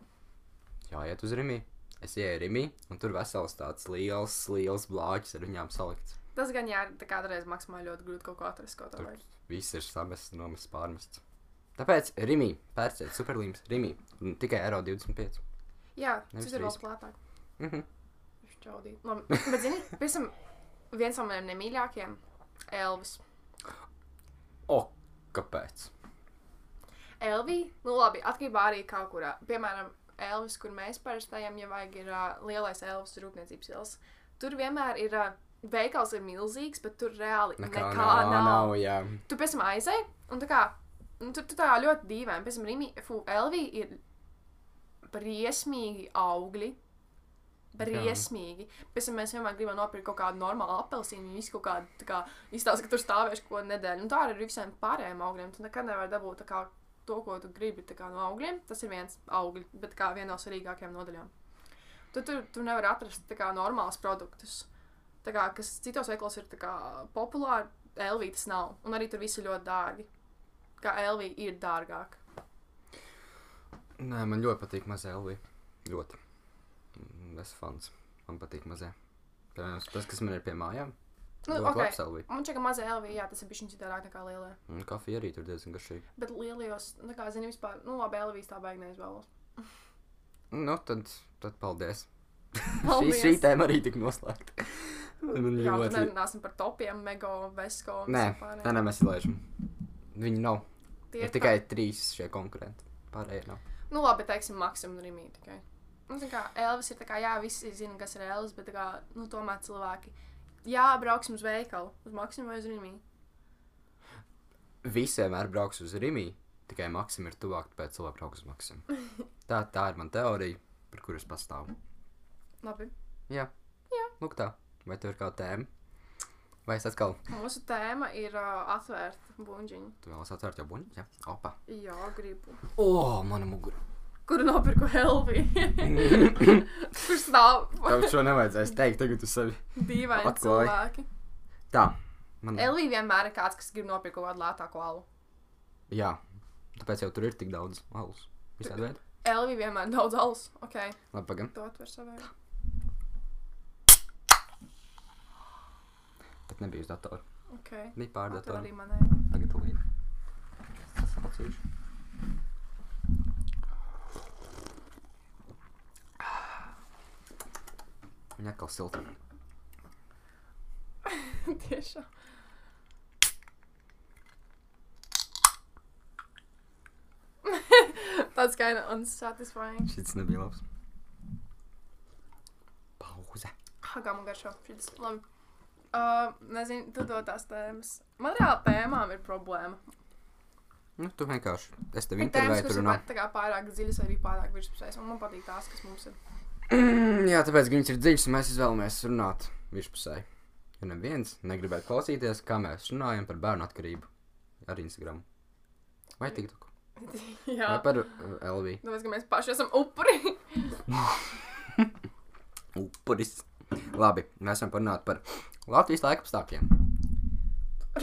Speaker 1: Jāiet uz Rimī. Es ieeju Rimī, un tur vesels tāds liels, liels blāķis ar viņām salikts.
Speaker 2: Tas gan jā, tā kā reiz maksimā ļoti grūti kaut ko atrast, ko tev
Speaker 1: Tur
Speaker 2: vajag.
Speaker 1: viss ir samests, nomests, pārmests. Tāpēc Rimī, pērciet superlīmas, Rimī, un tikai eiro 25.
Speaker 2: Jā,
Speaker 1: Nevis
Speaker 2: tas ir vēl
Speaker 1: trīs.
Speaker 2: plātāk.
Speaker 1: Mhm.
Speaker 2: Šķaudīt. Labi, bet zini, pēc tam viens no maniem nemīļākajiem, Elvis.
Speaker 1: O, kāpēc?
Speaker 2: Elvija, nu labi, atkarībā arī kā kurā. Piemēram, Elvis, kur mēs parastajam, ja vajag, ir uh, lielais Elvis rūpniecības ielas. Tur vienmēr ir uh, veikals ir milzīgs, bet tur reāli nekā, nekā nav. nav.
Speaker 1: jā.
Speaker 2: Tu pēc tam aizēji, un tā kā, nu, tur tu tā ļoti dīvaini. Pēc tam Rimi, fū, Elvija ir briesmīgi augļi. Briesmīgi. Pēc tam mēs vienmēr gribam nopirkt kaut kādu normālu apelsīnu. Viņš kaut kādā tā kā izstāsta, ka tur stāvēs kaut ko nedēļu. Un tā arī ir ar visiem pārējiem augļiem. Tu nekad nevari dabūt tā kā, to, ko tu gribi tā kā, no augļiem. Tas ir viens augļi, bet kā viena no svarīgākajām nodaļām. Tu tur tu nevari atrast tā kā normālus produktus. Tā kā, kas citos veikalos ir tā kā populāri, Elvija tas nav. Un arī tur viss ir ļoti dārgi. Kā Elvija ir dārgāk.
Speaker 1: Nē, man ļoti patīk mazā Elvija. Ļoti. Mm, Es fans. Man patīk mazā. Piemēram, tas, kas man ir pie mājām.
Speaker 2: Nu,
Speaker 1: Ļoti
Speaker 2: ok.
Speaker 1: labs Elvija.
Speaker 2: Man čeka mazā Elvija, jā, tas ir bijis viņa citādāk nekā lielā.
Speaker 1: Un kafija arī tur diezgan garšīga.
Speaker 2: Bet lielajos, nu, kā zinu, vispār, nu, labi, Elvijas tā baigi neizvēlos.
Speaker 1: Nu, tad, tad paldies. šī,
Speaker 2: Paldies.
Speaker 1: šī tēma arī tik noslēgta. Man
Speaker 2: Jā, tad
Speaker 1: ļoti.
Speaker 2: nerunāsim par topiem, mega, vesko. un
Speaker 1: Nē,
Speaker 2: visiem pārējiem.
Speaker 1: tā nemēs lēšam. Viņi nav.
Speaker 2: Tie
Speaker 1: Ir tikai trīs šie konkurenti. Pārējie nav.
Speaker 2: Tā, nu, labi, teiksim, Maksim un Rimī tikai. Nu, tā kā Elvis ir tā kā, jā, visi zina, kas ir Elvis, bet tā kā, nu, tomēr cilvēki. Jā, brauksim uz veikalu, uz Maksimu vai uz Rimī.
Speaker 1: Visi vienmēr brauks uz Rimī, tikai Maksim ir tuvāk, tāpēc cilvēki brauks uz Maksimu. Tā, tā ir mana teorija, par kuras pastāvu.
Speaker 2: Labi.
Speaker 1: Jā.
Speaker 2: Jā.
Speaker 1: Lūk tā. Vai tev ir kāda tēma? Vai es atkal
Speaker 2: Mūsu tēma ir uh, atvērta buļbuļsaktiņa.
Speaker 1: Tu vēlas atvērt jau buļbuļs? Jā, opa.
Speaker 2: Jā, gribu.
Speaker 1: O, mana mugura.
Speaker 2: Kuru nopirku Helvija? Kurš nav
Speaker 1: Tev šo nevajadzēs teikt, tagad tu sevi.
Speaker 2: dīvaini
Speaker 1: Atklāj.
Speaker 2: cilvēki?
Speaker 1: Tā, man.
Speaker 2: Elvija vienmēr ir kāds, kas grib nopirkt kaut kādu lētāku alu.
Speaker 1: Jā, tāpēc jau tur ir tik daudz alus. Visādi veidi.
Speaker 2: Elvija vienmēr daudz alus. Ok,
Speaker 1: Labi, pagaidi.
Speaker 2: to atver savai.
Speaker 1: Bet nebija uz datora.
Speaker 2: Ok.
Speaker 1: Bija pārdota.
Speaker 2: Atver arī manai.
Speaker 1: Tagad tu līdzi. Cīši. Viņa atkal silta.
Speaker 2: Tiešām. That's kind of unsatisfying.
Speaker 1: Šis nebija labs. Pauze.
Speaker 2: Hagam garšo. Šis labi. Uh, nezinu, tu dod tās tēmas. Man reāli tēmām ir problēma.
Speaker 1: Nu, tu vienkārši. Es tev
Speaker 2: Ir tēmas,
Speaker 1: intervēju,
Speaker 2: kas
Speaker 1: tur
Speaker 2: ir
Speaker 1: runā.
Speaker 2: pat tā kā pārāk dziļas, vai arī pārāk virspusējas. Un man patīk tās, kas mums ir.
Speaker 1: Mm, Jā, tāpēc, ka viņas ir dziļas, un mēs izvēlamies runāt virspusē. Ja neviens negribētu klausīties, kā mēs runājam par bērnu atkarību ar Instagram vai TikTok.
Speaker 2: Jā.
Speaker 1: Vai par uh, LV?
Speaker 2: Tāpēc, ka mēs paši esam upuri.
Speaker 1: Upuris. Labi, mēs varam parunāt par Latvijas laika apstākļiem.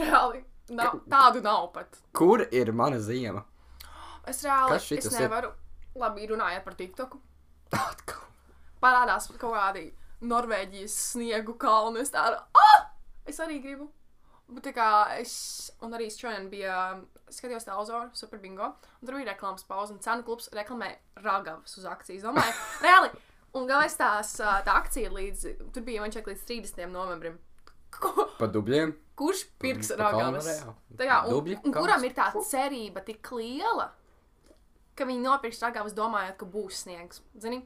Speaker 2: reāli. Nav, tādu nav pat.
Speaker 1: Kur ir mana ziema?
Speaker 2: Es reāli
Speaker 1: Kas
Speaker 2: es
Speaker 1: šitas ir?
Speaker 2: nevaru. Ir? Labi, runājot par TikToku.
Speaker 1: Atkal.
Speaker 2: parādās kaut kādi Norvēģijas sniegu kalni. Es tādu, ah, es arī gribu. Bet tā kā es, un arī es šodien bija, um, skatījos televizoru, super bingo, un tur bija reklāmas pauze, un cenu klubs reklamē ragavas uz akcijas. Domāju, reāli, un galvenais tās, ā, tā akcija līdz, tur bija, man šķiet, līdz 30. novembrim. Ko-
Speaker 1: Pa dubļiem?
Speaker 2: Kurš pirks
Speaker 1: Nu, Pa kalnu
Speaker 2: ragavas?
Speaker 1: reāli.
Speaker 2: Tā kā, un,
Speaker 1: Dubļi,
Speaker 2: un
Speaker 1: kalns.
Speaker 2: kuram ir tā cerība tik liela, ka viņi nopirks ragavas domājot, ka būs sniegs? Zini?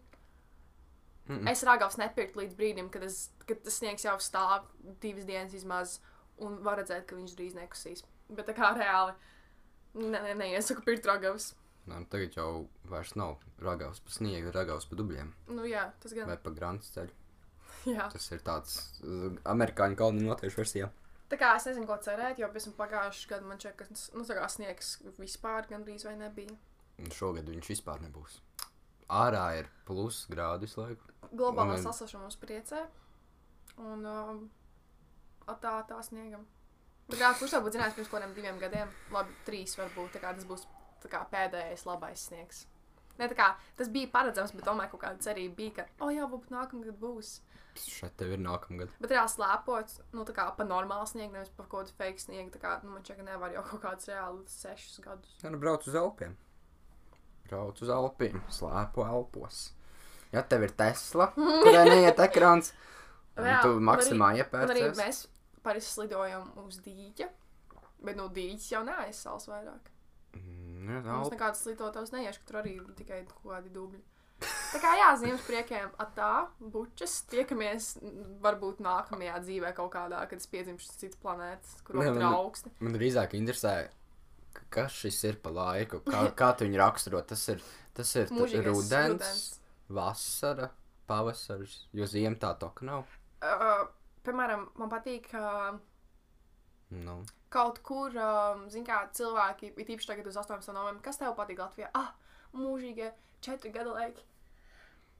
Speaker 2: Mm -mm. Es ragavas nepirku līdz brīdim, kad, es, kad tas sniegs jau stāv divas dienas vismaz, un var redzēt, ka viņš drīz nekusīs. Bet tā kā reāli, ne, ne, neiesaku pirkt ragavas.
Speaker 1: Nē, nu tagad jau vairs nav ragavs pa sniegu, ragavs pa dubļiem
Speaker 2: Nu jā, tas gan.
Speaker 1: vai
Speaker 2: Bet.
Speaker 1: pa grāmatas ceļu.
Speaker 2: Jā.
Speaker 1: Tas ir tāds uh, amerikāņu kalnu latviešu versijā.
Speaker 2: Tā kā es nezinu, ko cerēt, jo pēc tam pagājušā gada man šķiet, ka nu, tā kā sniegs vispār gandrīz vai nebija.
Speaker 1: Un šogad viņš vispār nebūs. Ārā ir plus grādu visu laiku.
Speaker 2: globālā
Speaker 1: Un-
Speaker 2: sasaukuma mums priecē. Un um, tā, tā sniegam. Bet kā, kurš to būtu zinājis pirms kaut kādiem diviem gadiem? Labi, trīs varbūt. Tā kā tas būs tā kā, pēdējais labais sniegs. Ne, tā kā, tas bija paredzams, bet tomēr kaut kāda cerība bija, ka, oh, jā, būs nākamgad būs.
Speaker 1: Šeit tev ir nākamgad.
Speaker 2: Bet reāli slēpot, nu, tā kā pa normālu sniegu, nevis pa kaut kādu fake sniegu. Tā kā, nu, man čeka nevar jau kaut kādus reāli sešus gadus.
Speaker 1: Jā, nu brauc uz Alpiem. Brauc uz Alpiem, slēpo Alpos. Ja tev ir Tesla, kurai neiet ekrāns, tad
Speaker 2: Reāli,
Speaker 1: tu
Speaker 2: un arī-
Speaker 1: maksimāli
Speaker 2: Un arī
Speaker 1: iepērcies.
Speaker 2: mēs parasti slidojam uz dīķa, bet no dīķa jau neaizsals vairāk.
Speaker 1: Mm, jā,
Speaker 2: Mums
Speaker 1: Alp-
Speaker 2: nekādas slitotavas neiešu, ka tur arī tikai kaut kādi dubļi. Tā kā jā, ziemas priekiem, atā, bučas, tiekamies n- varbūt nākamajā dzīvē kaut kādā, kad es piedzimšu uz citas planētas, kur
Speaker 1: Nē,
Speaker 2: vēl ir
Speaker 1: man-
Speaker 2: augsti.
Speaker 1: Man drīzāk interesē, k- kas šis ir pa laiku, kā, kā tu viņu raksturo. Tas ir, tas ir t-
Speaker 2: Mūžīgais
Speaker 1: rudens,
Speaker 2: rudens.
Speaker 1: vasara, pavasaris, jo ziem tā toka nav.
Speaker 2: Uh, piemēram, man patīk, uh, ka
Speaker 1: Nu,
Speaker 2: kaut kur, um, zin kā, cilvēki, ir tīpaši tagad uz 18 novembrī, kas tev patīk Latvijā? Ah, mūžīgie četri gada laiki.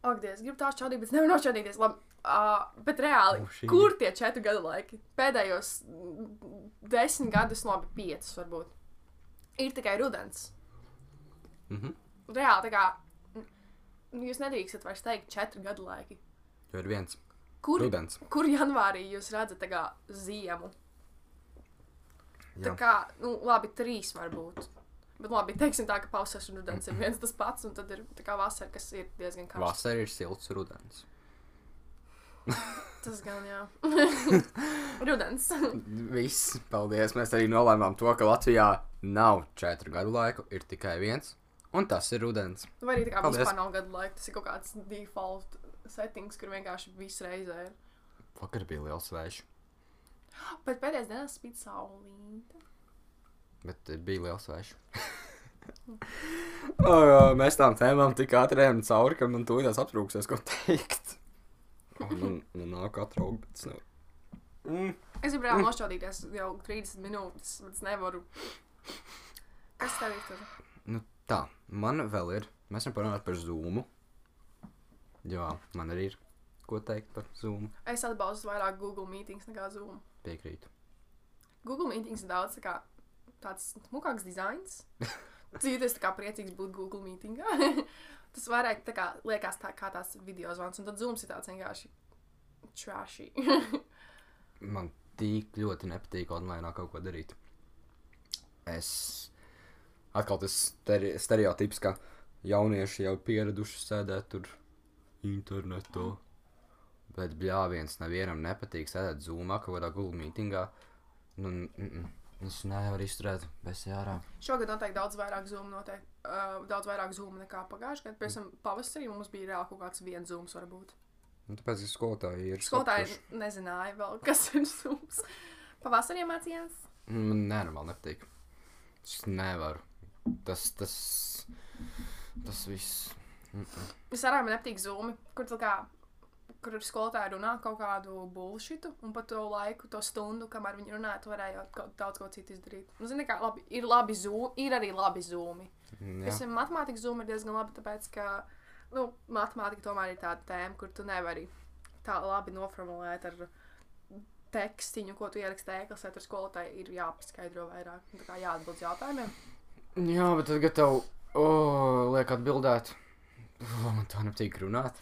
Speaker 2: Ak, Dievs, gribu tās čādīt, bet es nevaru nošķādīties. Labi. Uh, bet reāli,
Speaker 1: Mūžīgi.
Speaker 2: mūžīgi. kur tie četri gada laiki? Pēdējos mm, desmit gadus, labi, piecus varbūt. Ir tikai rudens.
Speaker 1: Mhm.
Speaker 2: Reāli, tā kā mm, jūs nedrīkstat vairs teikt četri gada laiki.
Speaker 1: jo ir viens
Speaker 2: Kur,
Speaker 1: rudens.
Speaker 2: kur janvārī jūs redzat tā kā ziemu? Tā
Speaker 1: Jā.
Speaker 2: kā, nu, labi, trīs varbūt. Bet labi, teiksim tā, ka pavasaris un rudens ir viens tas pats, un tad ir tā kā vasara, kas ir diezgan karsta.
Speaker 1: Vasara ir silts rudens.
Speaker 2: Tas gan jā. rudens.
Speaker 1: Viss, paldies. Mēs arī nolēmām to, ka Latvijā nav četru gadu laiku, ir tikai viens. Un tas ir rudens.
Speaker 2: Nu, Vai arī tā kā
Speaker 1: Paldies.
Speaker 2: vispār nav gadu laika, tas ir kaut kāds default settings, kur vienkārši viss reizē ir. Ah,
Speaker 1: Vakar bija liels vējš,
Speaker 2: Bet pēdējais dienas spīd saulīte.
Speaker 1: bet eh, bija liels vējš. O, Oh, Mēs tam tēmām tik ātrējām cauri, ka man tūlītās aptrūksies, ko teikt. Man, man nāk atraukt, bet es nevaru. Mm.
Speaker 2: Es gribu reāli nošķaudīties jau 30 minūtes, bet es nevaru. Kas tev ir tur?
Speaker 1: Nu, tā, man vēl ir. Mēs varam parunāt par zūmu. Jā, man arī ir ko teikt par zūmu.
Speaker 2: Es atbalstu vairāk Google meetings nekā Zoom.
Speaker 1: Piekrītu.
Speaker 2: Google meetings ir daudz tā kā, tāds smukāks dizains. Cīties tā kā priecīgs būt Google meetingā. Tas vairāk tā kā liekas tā kā tās video zvans, un tad zooms ir tāds vienkārši trashy.
Speaker 1: Man tik ļoti nepatīk online kaut ko darīt. Es atkal tas stere stereotips, ka jaunieši jau pieraduši sēdēt tur internetā. Bet, bļā, viens nevienam nepatīk sēdēt zūmā kaut kādā gulbā mītingā. Nu, n- n- n- es nevaru izturēt, bez jārā.
Speaker 2: Šogad noteikti daudz vairāk zūmu, noteikti, uh, daudz vairāk zūmu nekā pagājušajā gadā. Pēc tam pavasarī mums bija reāli kaut kāds viens zūms, varbūt.
Speaker 1: Nu, tāpēc es skolotāju ir.
Speaker 2: Skolotāji
Speaker 1: sapratuši.
Speaker 2: nezināja vēl, kas ir zūms. Pavasarī mācījās.
Speaker 1: Nu, Man nenormāli nepatīk. Es nevaru. Tas, tas, tas viss.
Speaker 2: Es arī man nepatīk zūmi, kur tā kā. Kur ir skolotāji runā kaut kādu bullshitu, un pat to laiku, to stundu, kamēr viņi runā, tu varēji jau kaut- daudz ko citu izdarīt. Nu, zini, kā labi, ir labi zūmi, ir arī labi zūmi.
Speaker 1: Jā.
Speaker 2: Es domāju, ka matemātikā zūma ir diezgan labi, tāpēc ka nu, matemātika tomēr ir tāda tēma, kur tu nevari tā labi noformulēt ar tekstiņu, ko tu ierakstīji ēklasē, tur skolotāji ir jāpaskaidro vairāk, un tā kā jāatbild uz jautājumiem.
Speaker 1: Jā, bet tad, kad tev oh, liek atbildēt, oh, man tā nepatīk runāt.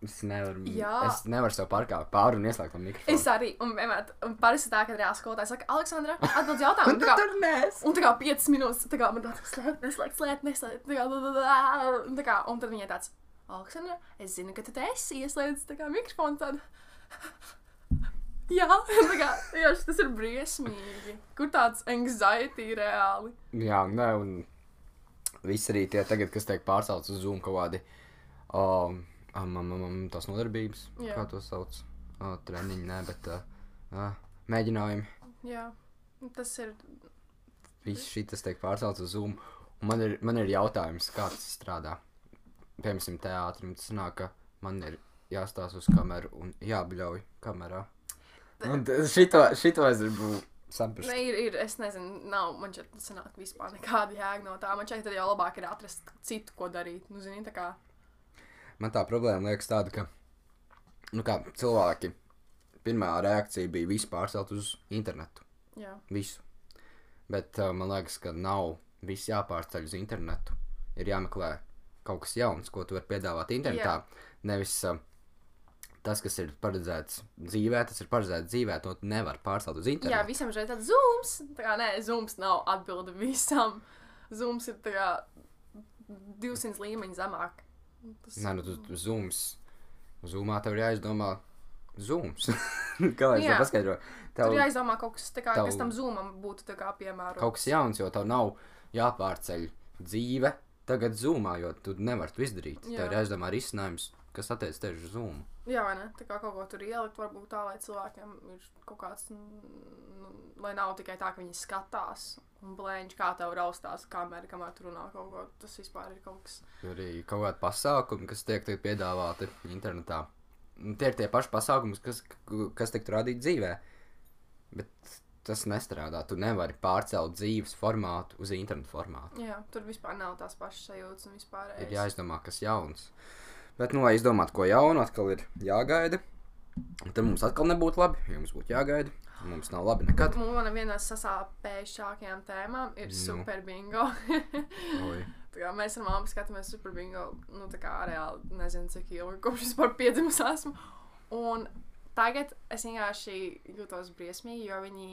Speaker 1: Es nevaru.
Speaker 2: Jā.
Speaker 1: Es nevaru sev pārkāpt pāri un ieslēgt to mikrofonu.
Speaker 2: Es arī, un vienmēr, un parasti tā, ka reāli skolotāji saka, Aleksandra, atbild uz jautājumu. Tā kā-
Speaker 1: nēs.
Speaker 2: Un tā kā 5 minūtes, tā kā man tāds slēpt, neslēgt, slēpt, neslēgt, tā kā, bla, bla, bla, un tā kā, un tad viņai tāds, Aleksandra, es zinu, ka tu te esi ieslēdzis tā kā mikrofonu tādu. Jā, tā kā, jā, šis- tas ir briesmīgi. Kur tāds anxiety reāli?
Speaker 1: Jā, nē, un viss arī tie tagad, kas tiek pārcelts uz Zoom kaut kādi. Um, um, um, um, um, tās nodarbības,
Speaker 2: Jā.
Speaker 1: Jā. kā to sauc. Uh, treniņi, nē, bet uh, uh, mēģinājumi.
Speaker 2: Jā, tas ir,
Speaker 1: Viss šis tiek pārcelts uz Zoom. Un Man ir, man ir jautājums, kā tas strādā. Piemēram, teātrim tas nāk, ka man ir jāstāsta uz kameru un jābļauj kamerā. Un t- šito, šito es gribu saprast.
Speaker 2: ne, ir, ir, es nezinu, nav, man šeit sanāk vispār nekāda jēga no tā. Man šeit tad jau labāk ir atrast citu, ko darīt. Nu, zini, tā kā,
Speaker 1: Man tā problēma liekas tāda, ka nu kā, cilvēki pirmā reakcija bija visu pārcelt uz internetu.
Speaker 2: jā.
Speaker 1: Visu. Bet uh, man liekas, ka nav viss jāpārceļ uz internetu. Ir jāmeklē kaut kas jauns, ko tu vari piedāvāt internetā. Yeah. Nevis uh, tas, kas ir paredzēts dzīvē, tas ir paredzēts dzīvē, to tu nevar pārcelt uz
Speaker 2: Jā,
Speaker 1: internetu.
Speaker 2: visam šeit tāds zūms. Tā kā nē, zūms nav atbilde visam. Zūms ir tā kā 200 līmeņi zemāk. Tas...
Speaker 1: Nē, nu tu, tu zooms. Zoomā tev ir jāizdomā. Zooms. kā lai es
Speaker 2: Jā.
Speaker 1: to paskaidroju?
Speaker 2: Tur
Speaker 1: Tev
Speaker 2: jāizdomā kaut kas tāds,
Speaker 1: Tavu-
Speaker 2: kas tam zūmam būtu tā kā piemērots.
Speaker 1: kaut kas jauns, jo tev nav jāpārceļ dzīve tagad zoomā, jo tu nevari to izdarīt.
Speaker 2: Jā.
Speaker 1: Tev ir jāizdomā risinājums, kas attiec tieši uz zoomu.
Speaker 2: Jā, vai ne? Tā kā kaut ko tur ielikt, varbūt tā, lai cilvēkiem ir kaut kāds, nu, lai nav tikai tā, ka viņi skatās un blēņķi, kā tev raustās kamera, kamēr tur runā kaut ko. Tas vispār ir kaut kas.
Speaker 1: Ir arī kaut kādi pasākumi, kas tiek tiek piedāvāti internetā. Un Tie ir tie paši pasākumi, kas, kas tiek rādīti dzīvē. Bet tas nestrādā. Tu nevari pārcelt dzīves formātu uz internetu formātu.
Speaker 2: Jā, tur vispār nav tās pašas sajūtas un vispār.
Speaker 1: Ir jāizdomā, kas jauns. Bet, nu, lai izdomātu, ko jaunu, atkal ir jāgaida. Un Tad mums atkal nebūtu labi, ja mums būtu jāgaida. Mums nav labi nekad.
Speaker 2: Mana viena no sasāpējušākajām tēmām ir
Speaker 1: Nu.
Speaker 2: super bingo.
Speaker 1: Oi.
Speaker 2: Tā kā mēs ar māmu skatāmies super bingo. Nu, tā kā reāli nezinu, cik ilgi kopš vispār piedzimis esmu. Un tagad es vienkārši jūtos briesmīgi, jo viņi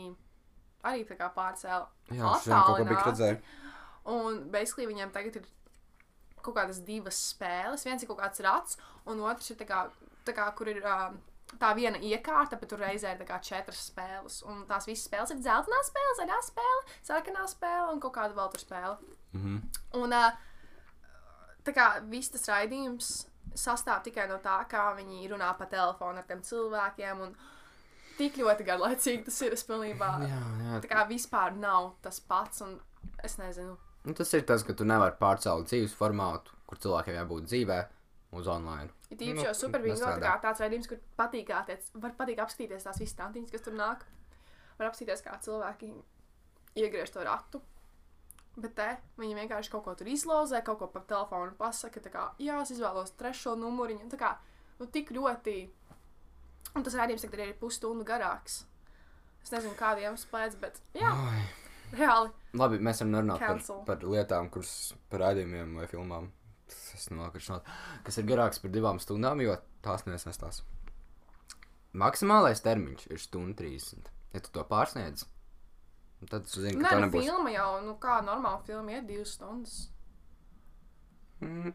Speaker 2: arī tā kā pārcēla.
Speaker 1: Jā, šodien kaut ko bija
Speaker 2: attālināti.
Speaker 1: redzējis.
Speaker 2: Un beisklī viņiem tagad ir kaut kādas divas spēles. Viens ir kaut kāds rats, un otrs ir tā kā, tā kā kur ir. ā, Tā viena iekārta, bet tur reizē ir tā kā četras spēles. Un tās visas spēles ir dzeltenā spēle, zaļā spēle, sarkanā spēle un kaut kāda vēl tur spēle.
Speaker 1: Mhm.
Speaker 2: Un ā, tā kā viss tas raidījums sastāv tikai no tā, kā viņi runā pa telefonu ar tiem cilvēkiem. Un tik ļoti garlaicīgi tas ir. Es pilnībā
Speaker 1: Jā, jā,
Speaker 2: tā kā vispār nav tas pats. Un es nezinu,
Speaker 1: Nu, tas ir tas, ka tu nevari pārcelt dzīves formātu, kur cilvēkiem jābūt dzīvē, uz online.
Speaker 2: Ir tīpaši
Speaker 1: Nu,
Speaker 2: jau supervīns, tā kā
Speaker 1: nestrādā.
Speaker 2: tāds raidījums, kur patīk, attiec- var patīk apskatīties tās visas tantiņas, kas tur nāk. Var apskatīties, kā cilvēki iegriež to ratu. Bet te viņi vienkārši kaut ko tur izlozē, kaut ko pa telefonu pasaka, tā kā, jā, es izvēlos trešo numuriņu. Tā kā, nu, tik ļoti. Un tas raidījums tagad arī ir pusstundu garāks. Es nezinu, kādiem spēc, bet jā,
Speaker 1: Ai.
Speaker 2: reāli.
Speaker 1: Labi, mēs varam runāt par,
Speaker 2: Cancel.
Speaker 1: par lietām, kuras par raidījumiem vai filmām. Es nokrišu, kas ir garāks par divām stundām, jo tās nesastās. Maksimālais termiņš ir stunda 30. Ja tu to pārsniedz, Un Tad tu zini,
Speaker 2: Nē,
Speaker 1: ka tā
Speaker 2: nu,
Speaker 1: nebūs.
Speaker 2: filma jau, nu kā normāla filma iet divas stundas.
Speaker 1: Mm,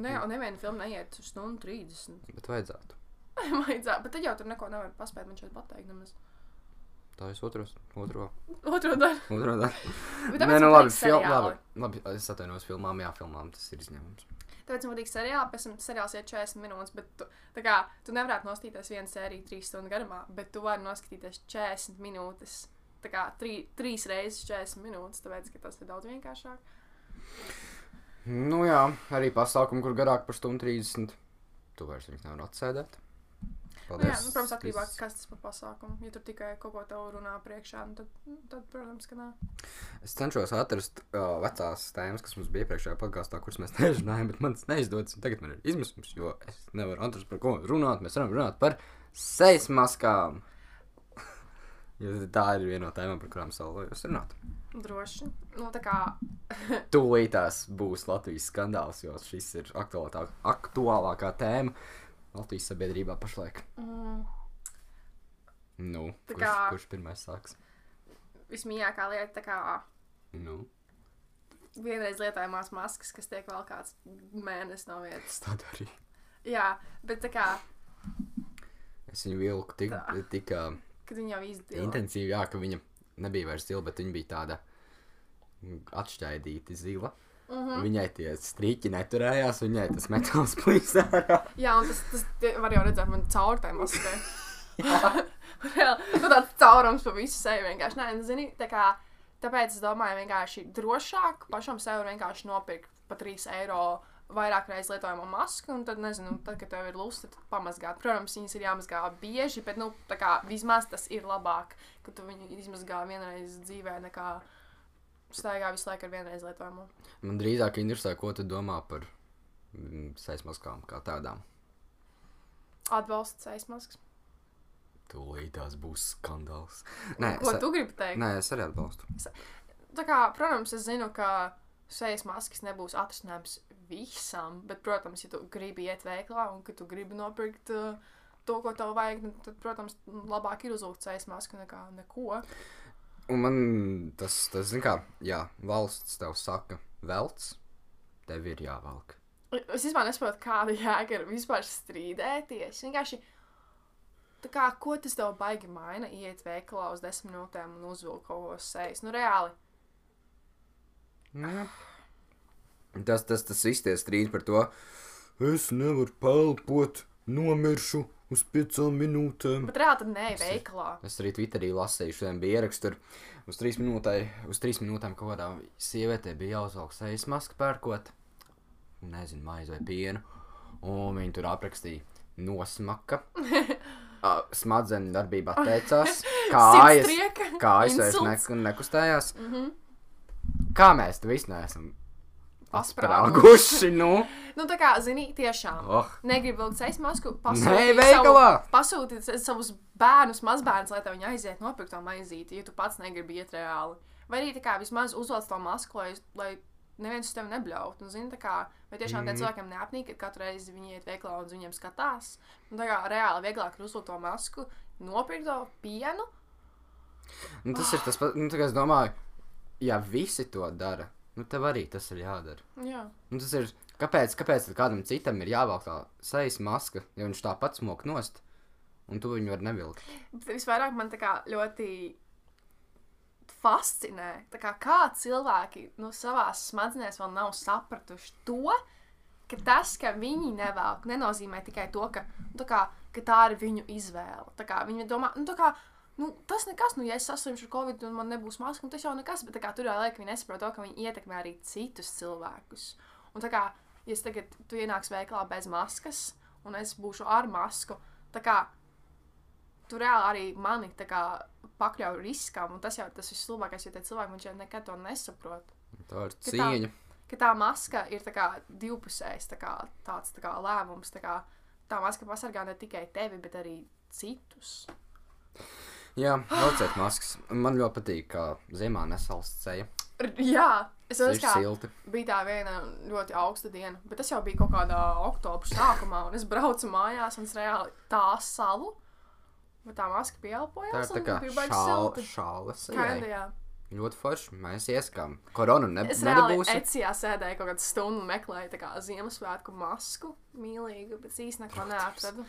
Speaker 2: Nē, un neviena filma neiet uz stundu 30.
Speaker 1: bet vajadzētu.
Speaker 2: Vajadzētu, bet tad jau tur neko nevar paspēt, man šeit pateikt nemaz.
Speaker 1: Tā es otros, otro,
Speaker 2: Otro daļu.
Speaker 1: otro daļu. Nē,
Speaker 2: Bet tāpēc
Speaker 1: nu
Speaker 2: man
Speaker 1: labi,
Speaker 2: patīk
Speaker 1: fil, labi,
Speaker 2: seriāli.
Speaker 1: labi, es atvainojos filmām, jā, filmām tas ir izņēmums.
Speaker 2: Tāpēc man patīk seriāli, pēc tam seriāls iet 40 minūtes, bet tu, tā kā tu nevarētu nostīties vienu sēriju 3 stundu garumā, bet tu vari noskatīties 40 minūtes. Tā kā 3 reizes 40 minūtes, tāpēc, ka tas ir daudz vienkāršāk.
Speaker 1: Nu jā, arī pasākumu, kur garāk par stundu 30. Tu vairs viņus nevar atsēdēt.
Speaker 2: Nu, jā, nu, protams, atkarībā no tā, kas tas par pasākumu. Ja tur tikai kaut ko tevu runā priekšā, nu, tad, nu, tad, protams, ka nē.
Speaker 1: Es cenšos atrast uh, vecās tēmas, kas mums bija iepriekšējā podkāstā, kuras mēs nerunājām, bet man tas neizdodas. un Tagad man ir izmisms, jo es nevaru atrast, par ko runāt. Mēs varam runāt par sejas maskām. Jo tā ir viena no tēmām, par kurām salojos runāt.
Speaker 2: Droši. Nu, tā kā
Speaker 1: Tūlītās būs Latvijas skandāls, jo šis ir aktuālākā, aktuālākā tēma Latvijas sabiedrībā pašlaik.
Speaker 2: mm,
Speaker 1: Nu,
Speaker 2: Tā
Speaker 1: kurš,
Speaker 2: kā-
Speaker 1: kurš pirmais sāks?
Speaker 2: vismīļākā lieta, tā kā
Speaker 1: Nu,
Speaker 2: vienreiz lietojamās maskas, kas tiek vēl kāds mēnesis no vietas.
Speaker 1: tādu arī.
Speaker 2: Jā, bet tā kā,
Speaker 1: Es viņu vilku tik,
Speaker 2: Tā.
Speaker 1: tik uh,
Speaker 2: kad viņi jau izdzīvo.
Speaker 1: intensīvi, jā, ka viņa nebija vairs zila, bet viņa bija tāda mm, atšķaidīta zila.
Speaker 2: Mm -hmm.
Speaker 1: Viņai tie strīķi neturējās, viņai tas metāls plīs ārā.
Speaker 2: Jā, un tas, tas tie- var jau redzēt, man caur tai maskai. Reāli, nu tāds caurums pa visu seju vienkārši. Nē, nu, zini, tā kā, tāpēc es domāju, vienkārši drošāk pašam sev vienkārši nopirkt pa 3 eiro vairāk reiz lietojumu masku, un tad, nezinu, tad, kad tev ir lusta, tad pamazgāt. Protams, viņas ir jāmazgā bieži, bet, nu, tā kā, vismaz tas ir labāk, ka tu viņu izmazgā vienreiz dzīvē, nekā staigā visu laiku ar vienreiz lietojumu.
Speaker 1: Man drīzāk interesē, ko tu domā par mm, seismaskām kā tādām.
Speaker 2: Atbalsts aizmasks.
Speaker 1: Tūlīt tās būs skandāls. Nē,
Speaker 2: Ko
Speaker 1: es,
Speaker 2: tu gribi teikt?
Speaker 1: nē, es arī atbalstu.
Speaker 2: tā kā, protams, es zinu, ka sejas maskas nebūs atrisinājums visam, bet, protams, ja tu gribi iet veiklā un ka tu gribi nopirkt uh, to, ko tev vajag, nu, tad, protams, labāk ir uzlūgt sejas masku nekā neko.
Speaker 1: Un man tas, tas zin kā, jā, valsts tev saka, velts, tev ir jāvelk.
Speaker 2: Es vispār nesaprotu, kāda jēga ir vispār strīdēties. Vienkārši, tā kā, ko tas tev baigi maina, iet veikalā uz desmit minūtēm un uzvilkt kaut ko uz sejas. Nu, reāli.
Speaker 1: Jā. Tas, tas, tas viss tie strīdi par to. Es nevaru pelpot, nomiršu uz piecām minūtēm.
Speaker 2: Bet reāli tad nē, veikalā.
Speaker 1: Es arī Twitterī lasīju, šodien bija ieraksts, tur uz trīs, minūtai, uz trīs minūtēm kaut kādā sievietē bija jāuzvelk sejas maska pērkot, nezinu, maizi vai pienu. Un viņi tur aprakstīja nosmaka. ā, Smadzeņu darbībā teicās, kājas,
Speaker 2: Sirdstrieka,
Speaker 1: kājas vairs
Speaker 2: insults.
Speaker 1: ne, nekustējās. Mm -hmm. Kā mēs to visu neesam
Speaker 2: Pasprāgu.
Speaker 1: sprāguši, nu?
Speaker 2: Nu, tā kā, zini, tiešām.
Speaker 1: Oh.
Speaker 2: Negribu vilkt sejas masku,
Speaker 1: Nē,
Speaker 2: pasūtīt
Speaker 1: veikalā!
Speaker 2: savu- Pasūtīt sa- savus bērnus, mazbērnus, lai tev viņi aiziet nopirkt to maizīti, ja tu pats negribi iet reāli. Vai arī tā kā vismaz uzvelc to masku, lai, lai neviens uz tevi nebļautu. Un, zini, tā kā, vai tiešām
Speaker 1: Mhm.
Speaker 2: mm. cilvēkiem neapnīk, ka katru reizi viņi iet veiklā un uz viņiem skatās. Un, tā kā reāli vieglāk ir uzvilkt to masku, nopirkt to pienu.
Speaker 1: Nu, tas ir tas pats, nu, tā kā es domāju, ja visi to dara, nu, tev arī tas ir jādara.
Speaker 2: Jā.
Speaker 1: Nu, tas ir, kāpēc, kāpēc tad kādam citam ir jāvelk tā sejas maska, ja viņš tā pats mok nost, un tu viņu var nevilkt?
Speaker 2: Bet Visvairāk man tā kā ļoti fascinē, tā kā, kā cilvēki nu, savā smadzenēs vēl nav sapratuši to, ka tas, ka viņi nevelk, nenozīmē tikai to, ka, nu, tā, kā, ka tā ir viņu izvēle. Tā kā Viņi domā, nu, tā kā, nu, tas nekas, nu, ja es saslimšu ar covid, un man nebūs maska, nu, tas jau nekas, bet tā kā, tur jau laikam viņi nesaprot to, ka viņi ietekmē arī citus cilvēkus. Un tā kā, ja es tagad tu ienāks veiklā bez maskas, un es būšu ar masku, tā kā tu reāli arī mani tā kā pakļauj riskam, un tas jau ir tas vislabākais, jo tie cilvēki man šeit nekad to nesaprot.
Speaker 1: Tā ir
Speaker 2: tā-
Speaker 1: cīņa.
Speaker 2: Ka tā maska ir tā kā divpusējs tā kā, tāds tā kā lēmums. Tā, kā, tā maska pasargā ne tikai tevi, bet arī citus.
Speaker 1: Jā, velciet maskas. Man ļoti patīk, ka ziemā nesalsts seja.
Speaker 2: R jā, es
Speaker 1: Tas
Speaker 2: saprotu,
Speaker 1: ir
Speaker 2: kā
Speaker 1: silti.
Speaker 2: bija tā viena ļoti augsta diena, bet tas jau bija kaut kādā oktobra sākumā, un es braucu mājās, un es reāli tā salu Bet tā maska pieelpoja.
Speaker 1: Tā ir tā kā šāla, šāla sajai.
Speaker 2: Kaidajā.
Speaker 1: Ļoti forši. Mēs ieskām. Koronu ne,
Speaker 2: Es reāli
Speaker 1: nedabūsim.
Speaker 2: Ecijā sēdēju kaut kādu stundu un meklēju tā kā Ziemassvētku masku mīlīgu, bet īstenībā neko neatradu.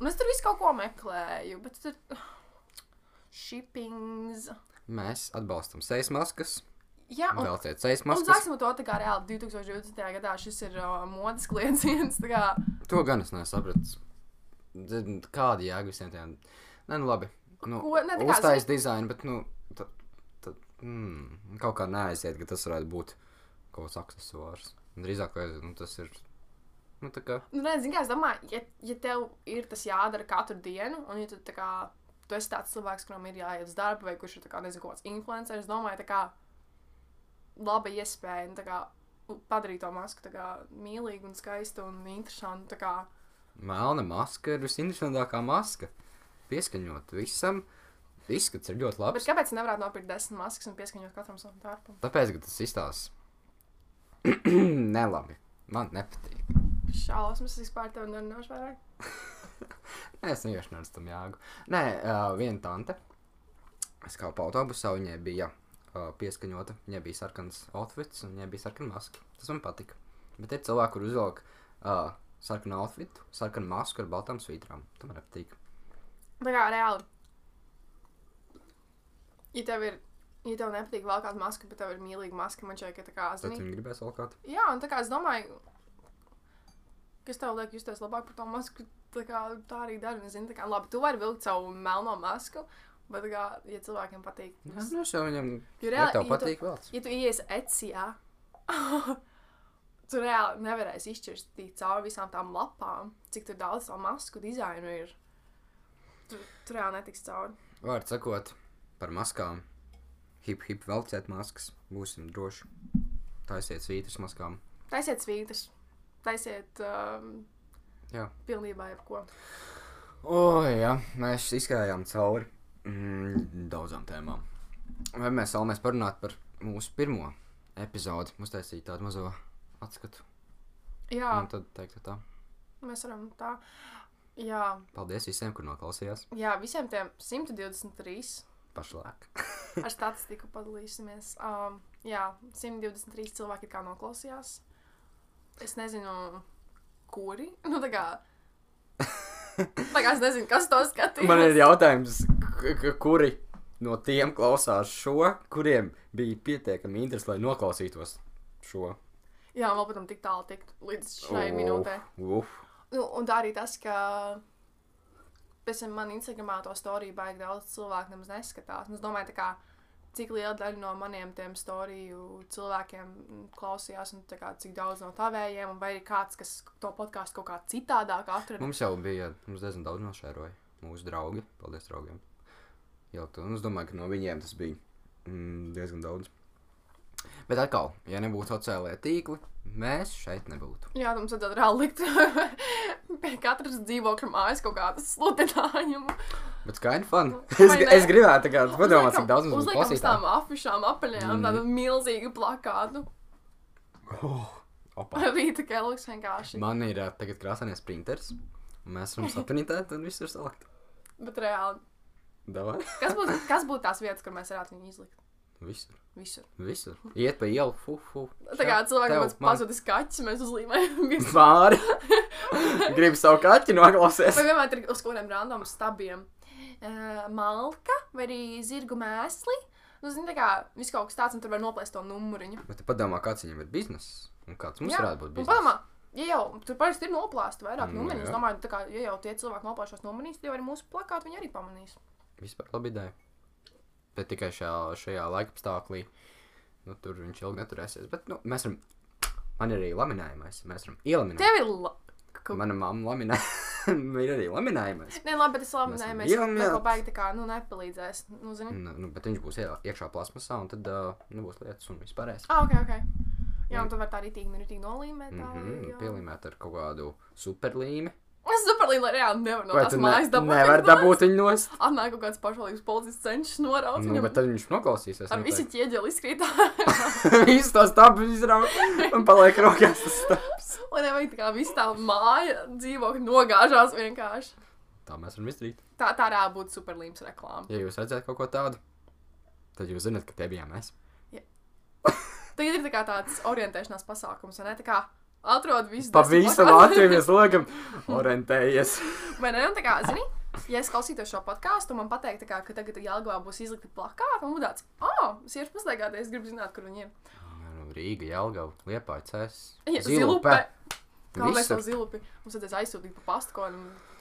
Speaker 2: Un es tur visu kaut ko meklēju, bet tur shippings.
Speaker 1: Mēs atbalstam sejas maskas.
Speaker 2: Jā, un,
Speaker 1: Vēlciet sejas
Speaker 2: un
Speaker 1: maskas.
Speaker 2: sāksim ar to, tā kā reāli 2020. gadā šis ir uh, modes kliedziens. tā kā
Speaker 1: To gan es nesapratu. Zin, Kāda jēga visiem tiem? Nē, nu labi. Nu,
Speaker 2: Ko- ne, tā kā
Speaker 1: Uztais dizainu, bet nu, tad, tad, mm, kaut kā neaiziet, ka tas varētu būt kaut kāds aksesuārs. Drīzāk, vai, nu, tas ir. Nu, tā kā.
Speaker 2: Nu, redz, zini, kā es domāju, ja, ja tev ir tas jādara katru dienu, un ja tu, tā kā, tu esi tāds cilvēks, kuram ir jāiet uz darbu, vai kurš ir tā kā, nezinu, kaut kāds influenceris, es domāju, tā kā laba iespēja nu, tā kā, u- padarīt to masku tā kā, mīlīgu, un skaistu un interesantu. tā kā.
Speaker 1: Melna maska ir visinteresantākā maska. Pieskaņot visam, izskats ir ļoti
Speaker 2: Bet
Speaker 1: labs.
Speaker 2: kāpēc gan nevarētu nopirkt desmit maskas un pieskaņot katram savam darbam?
Speaker 1: Tāpēc, ka tas izstāsta nelabi. Man nepatīk.
Speaker 2: Šausmas es vispār tev nerunāšu vairāk.
Speaker 1: Nē, es vienkārši neredzu tam jēgu. Nē, uh, viena tante. Es kā pa autobusā viņai bija uh, pieskaņota. Viņai bija sarkans outfits un viņai bija sarkana maska. Tas man patika. Bet ir cilvēki, kur uzvelk uh, sarkanu outfitu, sarkanu masku ar baltām svītrām. Tam man nepatīk.
Speaker 2: Tā kā reāli. Ja tev ir, ja tev nepatīk vēl kāda maska, bet tev ir mīlīga maska, man šķiet, ka tā kā
Speaker 1: Tad
Speaker 2: zini.
Speaker 1: viņi gribēs vēl kādu.
Speaker 2: Jā, un tā kā es domāju, kas tev liek justies labāk par to masku, tā, kā, tā arī dara. Es zinu, tā kā labi, tu vari vilkt savu melno masku, bet, tā kā, ja cilvēkiem patīk,
Speaker 1: Jā, nu es jau viņam.
Speaker 2: Jo
Speaker 1: Ja
Speaker 2: reāli,
Speaker 1: tev
Speaker 2: ja tu-
Speaker 1: patīk vēl.
Speaker 2: ja tu ienāc ecijā, tu reāli nevarēsi izšķirt cauri visām tām lapām, cik tur daudz to masku dizainu ir. Tur tu reāli netiks cauri.
Speaker 1: Vārds sakot, par maskām. Hip, hip, velciet maskas. Būsim droši. Taisiet svītras maskām.
Speaker 2: Taisiet svītras, taisiet um,
Speaker 1: Jā.
Speaker 2: pilnībā jebko.
Speaker 1: O, jā, mēs izgājām cauri mm, daudzām tēmām. Vai mēs vēlamies parunāt par mūsu pirmo epizodi? Mums taisīja tādu mazo atskatu.
Speaker 2: Jā,
Speaker 1: Un tad teikt, ka tā.
Speaker 2: mēs varam tā. Jā,
Speaker 1: Paldies visiem, kur noklausījās
Speaker 2: Jā, visiem tiem 123
Speaker 1: pašlaik.
Speaker 2: ar statistiku padalīsimies. Um, jā, 123 cilvēki ir kā noklausījās. Es nezinu, kuri. Nu, tā kā. Tā kā es nezinu, kas to skatījās.
Speaker 1: Man ir jautājums, k- k- kuri no tiem klausās šo, kuriem bija pietiekami interesi, lai noklausītos šo
Speaker 2: Jā, vēl patam tik tālu tikt līdz šai oh. minūtē.
Speaker 1: Uf,
Speaker 2: Nu, un tā arī tas, ka. Pēc tam man Instagramā to storiju baigi daudz cilvēku nemaz neskatās. Un es domāju, tā kā, cik liela daļa no maniem tiem storiju cilvēkiem mm, klausījās, un tā kā, cik daudz no tavējiem, un vai ir kāds, kas to podkāstu kaut kā citādāk atrada.
Speaker 1: Mums jau bija, mums diezgan daudz nošēroja mūsu draugi. Paldies, draugiem. Jā, tu, un es domāju, ka no viņiem tas bija mm, diezgan daudz. Bet atkal, ja nebūtu sociālajā tīkli, mēs šeit nebūtu.
Speaker 2: Jā, mums vajadzētu reāli likt pie katras dzīvokļa mājas kaut kādu sludinājumu.
Speaker 1: Bet skaidri, fani.
Speaker 2: Nu, Vai
Speaker 1: Es,
Speaker 2: ne?
Speaker 1: gri- es gribētu tā kā padomāt,
Speaker 2: Uzliekam-
Speaker 1: cik daudz mums būtu
Speaker 2: uzliekam uz tām
Speaker 1: klausītāju.
Speaker 2: afišām apaļajām, mm. tādu milzīgu plakātu.
Speaker 1: Oh, opa.
Speaker 2: Rīta Kellogs vienkārši.
Speaker 1: Man ir ā, tagad krāsainies printers, un mēs varam saprinitēt, un viss ir salikt.
Speaker 2: Bet reāli.
Speaker 1: Davai.
Speaker 2: Kas būtu kas būtu tās vietas, kur mēs varētu viņu izlikt?
Speaker 1: Visur.
Speaker 2: Visur.
Speaker 1: Visur. Iet pa ielu, fu, fu.
Speaker 2: Tā kā cilvēkam ir
Speaker 1: pazudis.
Speaker 2: pazudis kaķis, mēs uzlīmējam visu.
Speaker 1: Māri. Gribu savu kaķi noklausīties.
Speaker 2: Vai vienmēr ir uz kaut kādiem random stabiem? Uh, malka vai arī zirgu mēsli. Nu, zini, tā kā viss kaut kas tāds, un tur var noplēst to numuriņu.
Speaker 1: Bet tu Nu, padomā, kāds viņam ir bizness un kāds mums varētu būt
Speaker 2: un
Speaker 1: bizness.
Speaker 2: padomā, ja jau tur parasti ir noplāsta vairāk
Speaker 1: Mm,
Speaker 2: mm, numuriņu,
Speaker 1: jā.
Speaker 2: es domāju, tā kā, ja jau tie cilvēki noplēš šos numuriņus, tad jau arī mūsu plakātu viņi arī pamanīs.
Speaker 1: Vispār labi ideja. Bet tikai šajā, šajā laika apstākļā nu, tur viņš ilgi neturēsies. Bet nu, mēs varam, man ir arī laminējumais. Mēs varam ielaminēt.
Speaker 2: Tev ir labi. Tev...
Speaker 1: Mana mamma laminē. ir arī laminējumais.
Speaker 2: Nē, labi, bet es labi,
Speaker 1: Mēs
Speaker 2: nē,
Speaker 1: varam
Speaker 2: mēs tam
Speaker 1: ielamāt.
Speaker 2: kaut kā tā kā, nu, nepalīdzēs. Nu, zini,
Speaker 1: Nu, nu, bet viņš būs ielā- iekšā plasmasā, un tad uh, nebūs lietas un vispārējais.
Speaker 2: Ah, ok, ok. Jā, un tu vari tā arī tīkni, arī nolīmēt.
Speaker 1: Mm
Speaker 2: Tā,
Speaker 1: -hmm,
Speaker 2: jā.
Speaker 1: pielīmēt ar kaut kādu superlīmi.
Speaker 2: Es superlīnu reāli nevaru no
Speaker 1: Vai
Speaker 2: tās
Speaker 1: tu ne,
Speaker 2: mājas dabūt.
Speaker 1: nevar dabūt viņu nost?
Speaker 2: Atnāk kaut kāds pašvaldības policists cenšas noraut
Speaker 1: Nu, bet
Speaker 2: viņam.
Speaker 1: tad nu, viņš noklausīsies.
Speaker 2: Ar visu
Speaker 1: noteikti.
Speaker 2: ķieģeli izkrīt.
Speaker 1: Visu to stāstu izrauj un paliek rokās tas stāsts.
Speaker 2: Un nevajag tā kā visu tā māja dzīvokļi nogāžās vienkārši.
Speaker 1: Tā mēs varam izdarīt.
Speaker 2: Tā, tā varētu būt superlīmes reklāma.
Speaker 1: Ja jūs redzat kaut ko tādu, tad jūs zinat, ka te bijām mēs.
Speaker 2: Tagad ir tā kā tāds orientēšanās pasākums, vai ne? Tā kā atrod visu
Speaker 1: Pa
Speaker 2: desmit
Speaker 1: visu
Speaker 2: lokāciju.
Speaker 1: Latviju mēs liekam, orientējies.
Speaker 2: Vai ne? Un tā kā, zini, ja es klausītos šo podkāstu, man pateikt, kā, ka tagad Jālgavā būs izlikti plakāti, un būtu tāds, ah, oh, sievietes mazliet, es gribu zināt, kur viņi ir.
Speaker 1: Nu, Rīga, Jelgava, Liepāja, Cēs.
Speaker 2: Ja, zilupe. Kā mēs to
Speaker 1: Visur.
Speaker 2: zilupi? Mums tad aizsūtīja pa pastkodu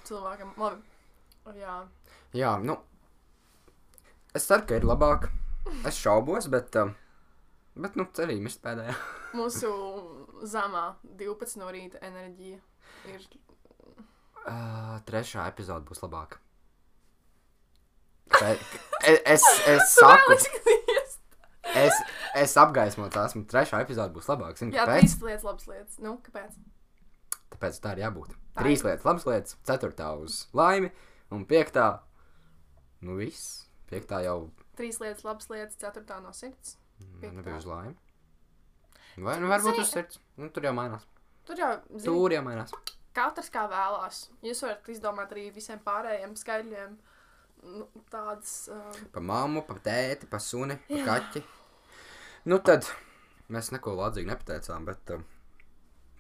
Speaker 2: cilvēkam. Labi. Jā.
Speaker 1: Jā, nu. Es ceru, ka ir labāk. Es šaubos, bet. Um, bet, nu, cerība ir pēdējā.
Speaker 2: Mūsu zemā 12 no rīta enerģija ir.
Speaker 1: Uh, trešā epizode būs labāka. Te- Es, es, es saku,
Speaker 2: skaties.
Speaker 1: es, es apgaismoju tās, un trešā epizode būs labāka. Zini,
Speaker 2: Jā,
Speaker 1: kāpēc?
Speaker 2: trīs lietas, labas lietas. Nu, kāpēc?
Speaker 1: Tāpēc tā ir jābūt.
Speaker 2: Tā
Speaker 1: Trīs
Speaker 2: ir.
Speaker 1: lietas, labas lietas, ceturtā uz laimi, un piektā. Nu, viss. Piektā jau
Speaker 2: Trīs lietas, labas lietas, ceturtā no sirds.
Speaker 1: Man
Speaker 2: Piektā.
Speaker 1: Mm, nebija uz laimi. Vai nu varbūt
Speaker 2: Zini-
Speaker 1: uz sirds? Nu, tur jau mainās.
Speaker 2: Tur jau zini,
Speaker 1: Tur jau mainās.
Speaker 2: katrs kā vēlās. Jūs varat izdomāt arī visiem pārējiem skaidriem. Nu, tādas. Um,
Speaker 1: Pa mammu, pa tēti, pa suni, pa kaķi. Nu tad mēs neko lādzīgi nepateicām, bet. um,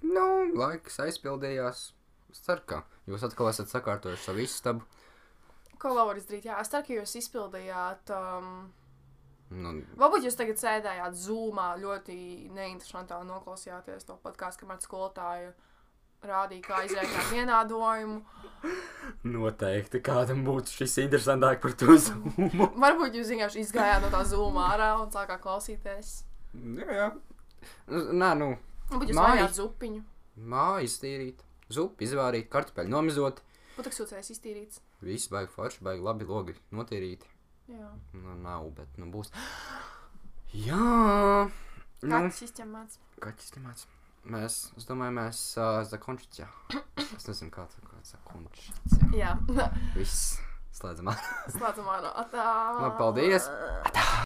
Speaker 1: Nu, laiks aizpildījās. Es ceru, ka jūs atkal esat sakārtojuši savu istabu.
Speaker 2: ko vēl var izdarīt? Jā, es ceru, ka jūs izpildījāt. Um,
Speaker 1: Nu,
Speaker 2: Varbūt jūs tagad sēdējāt zūmā, ļoti neinteresanti noklausījāties to podkāstu, kamēr skolotāju rādīja, kā izrēkt vienādojumu.
Speaker 1: noteikti kādam būtu šis interesantāk par to zumu.
Speaker 2: Varbūt jūs vienkārši izgājāt no tā zūmā ārā un sākāt klausīties.
Speaker 1: jā, jā. Nu, Nē, nu,
Speaker 2: Varbūt jūs
Speaker 1: Māja.
Speaker 2: mājāt zupiņu.
Speaker 1: mājas tīrīt, zupu izvārīt, kartupeļu nomizot.
Speaker 2: Putekļsūcējs iztīrīts.
Speaker 1: Viss baigi forši, baigi labi logi notīrīti.
Speaker 2: Jā,
Speaker 1: Nu, nav, bet nu būs. Jā, nu,
Speaker 2: kāds izķemāts.
Speaker 1: kaķis nemāc. Mēs, es domāju, mēs uh, zakončicā. Es nezinu, kā tā kā zakončicā.
Speaker 2: Jā,
Speaker 1: Viss, slēdzam. ārā.
Speaker 2: slēdzam ārā. Atā.
Speaker 1: Labi, Nu, paldies.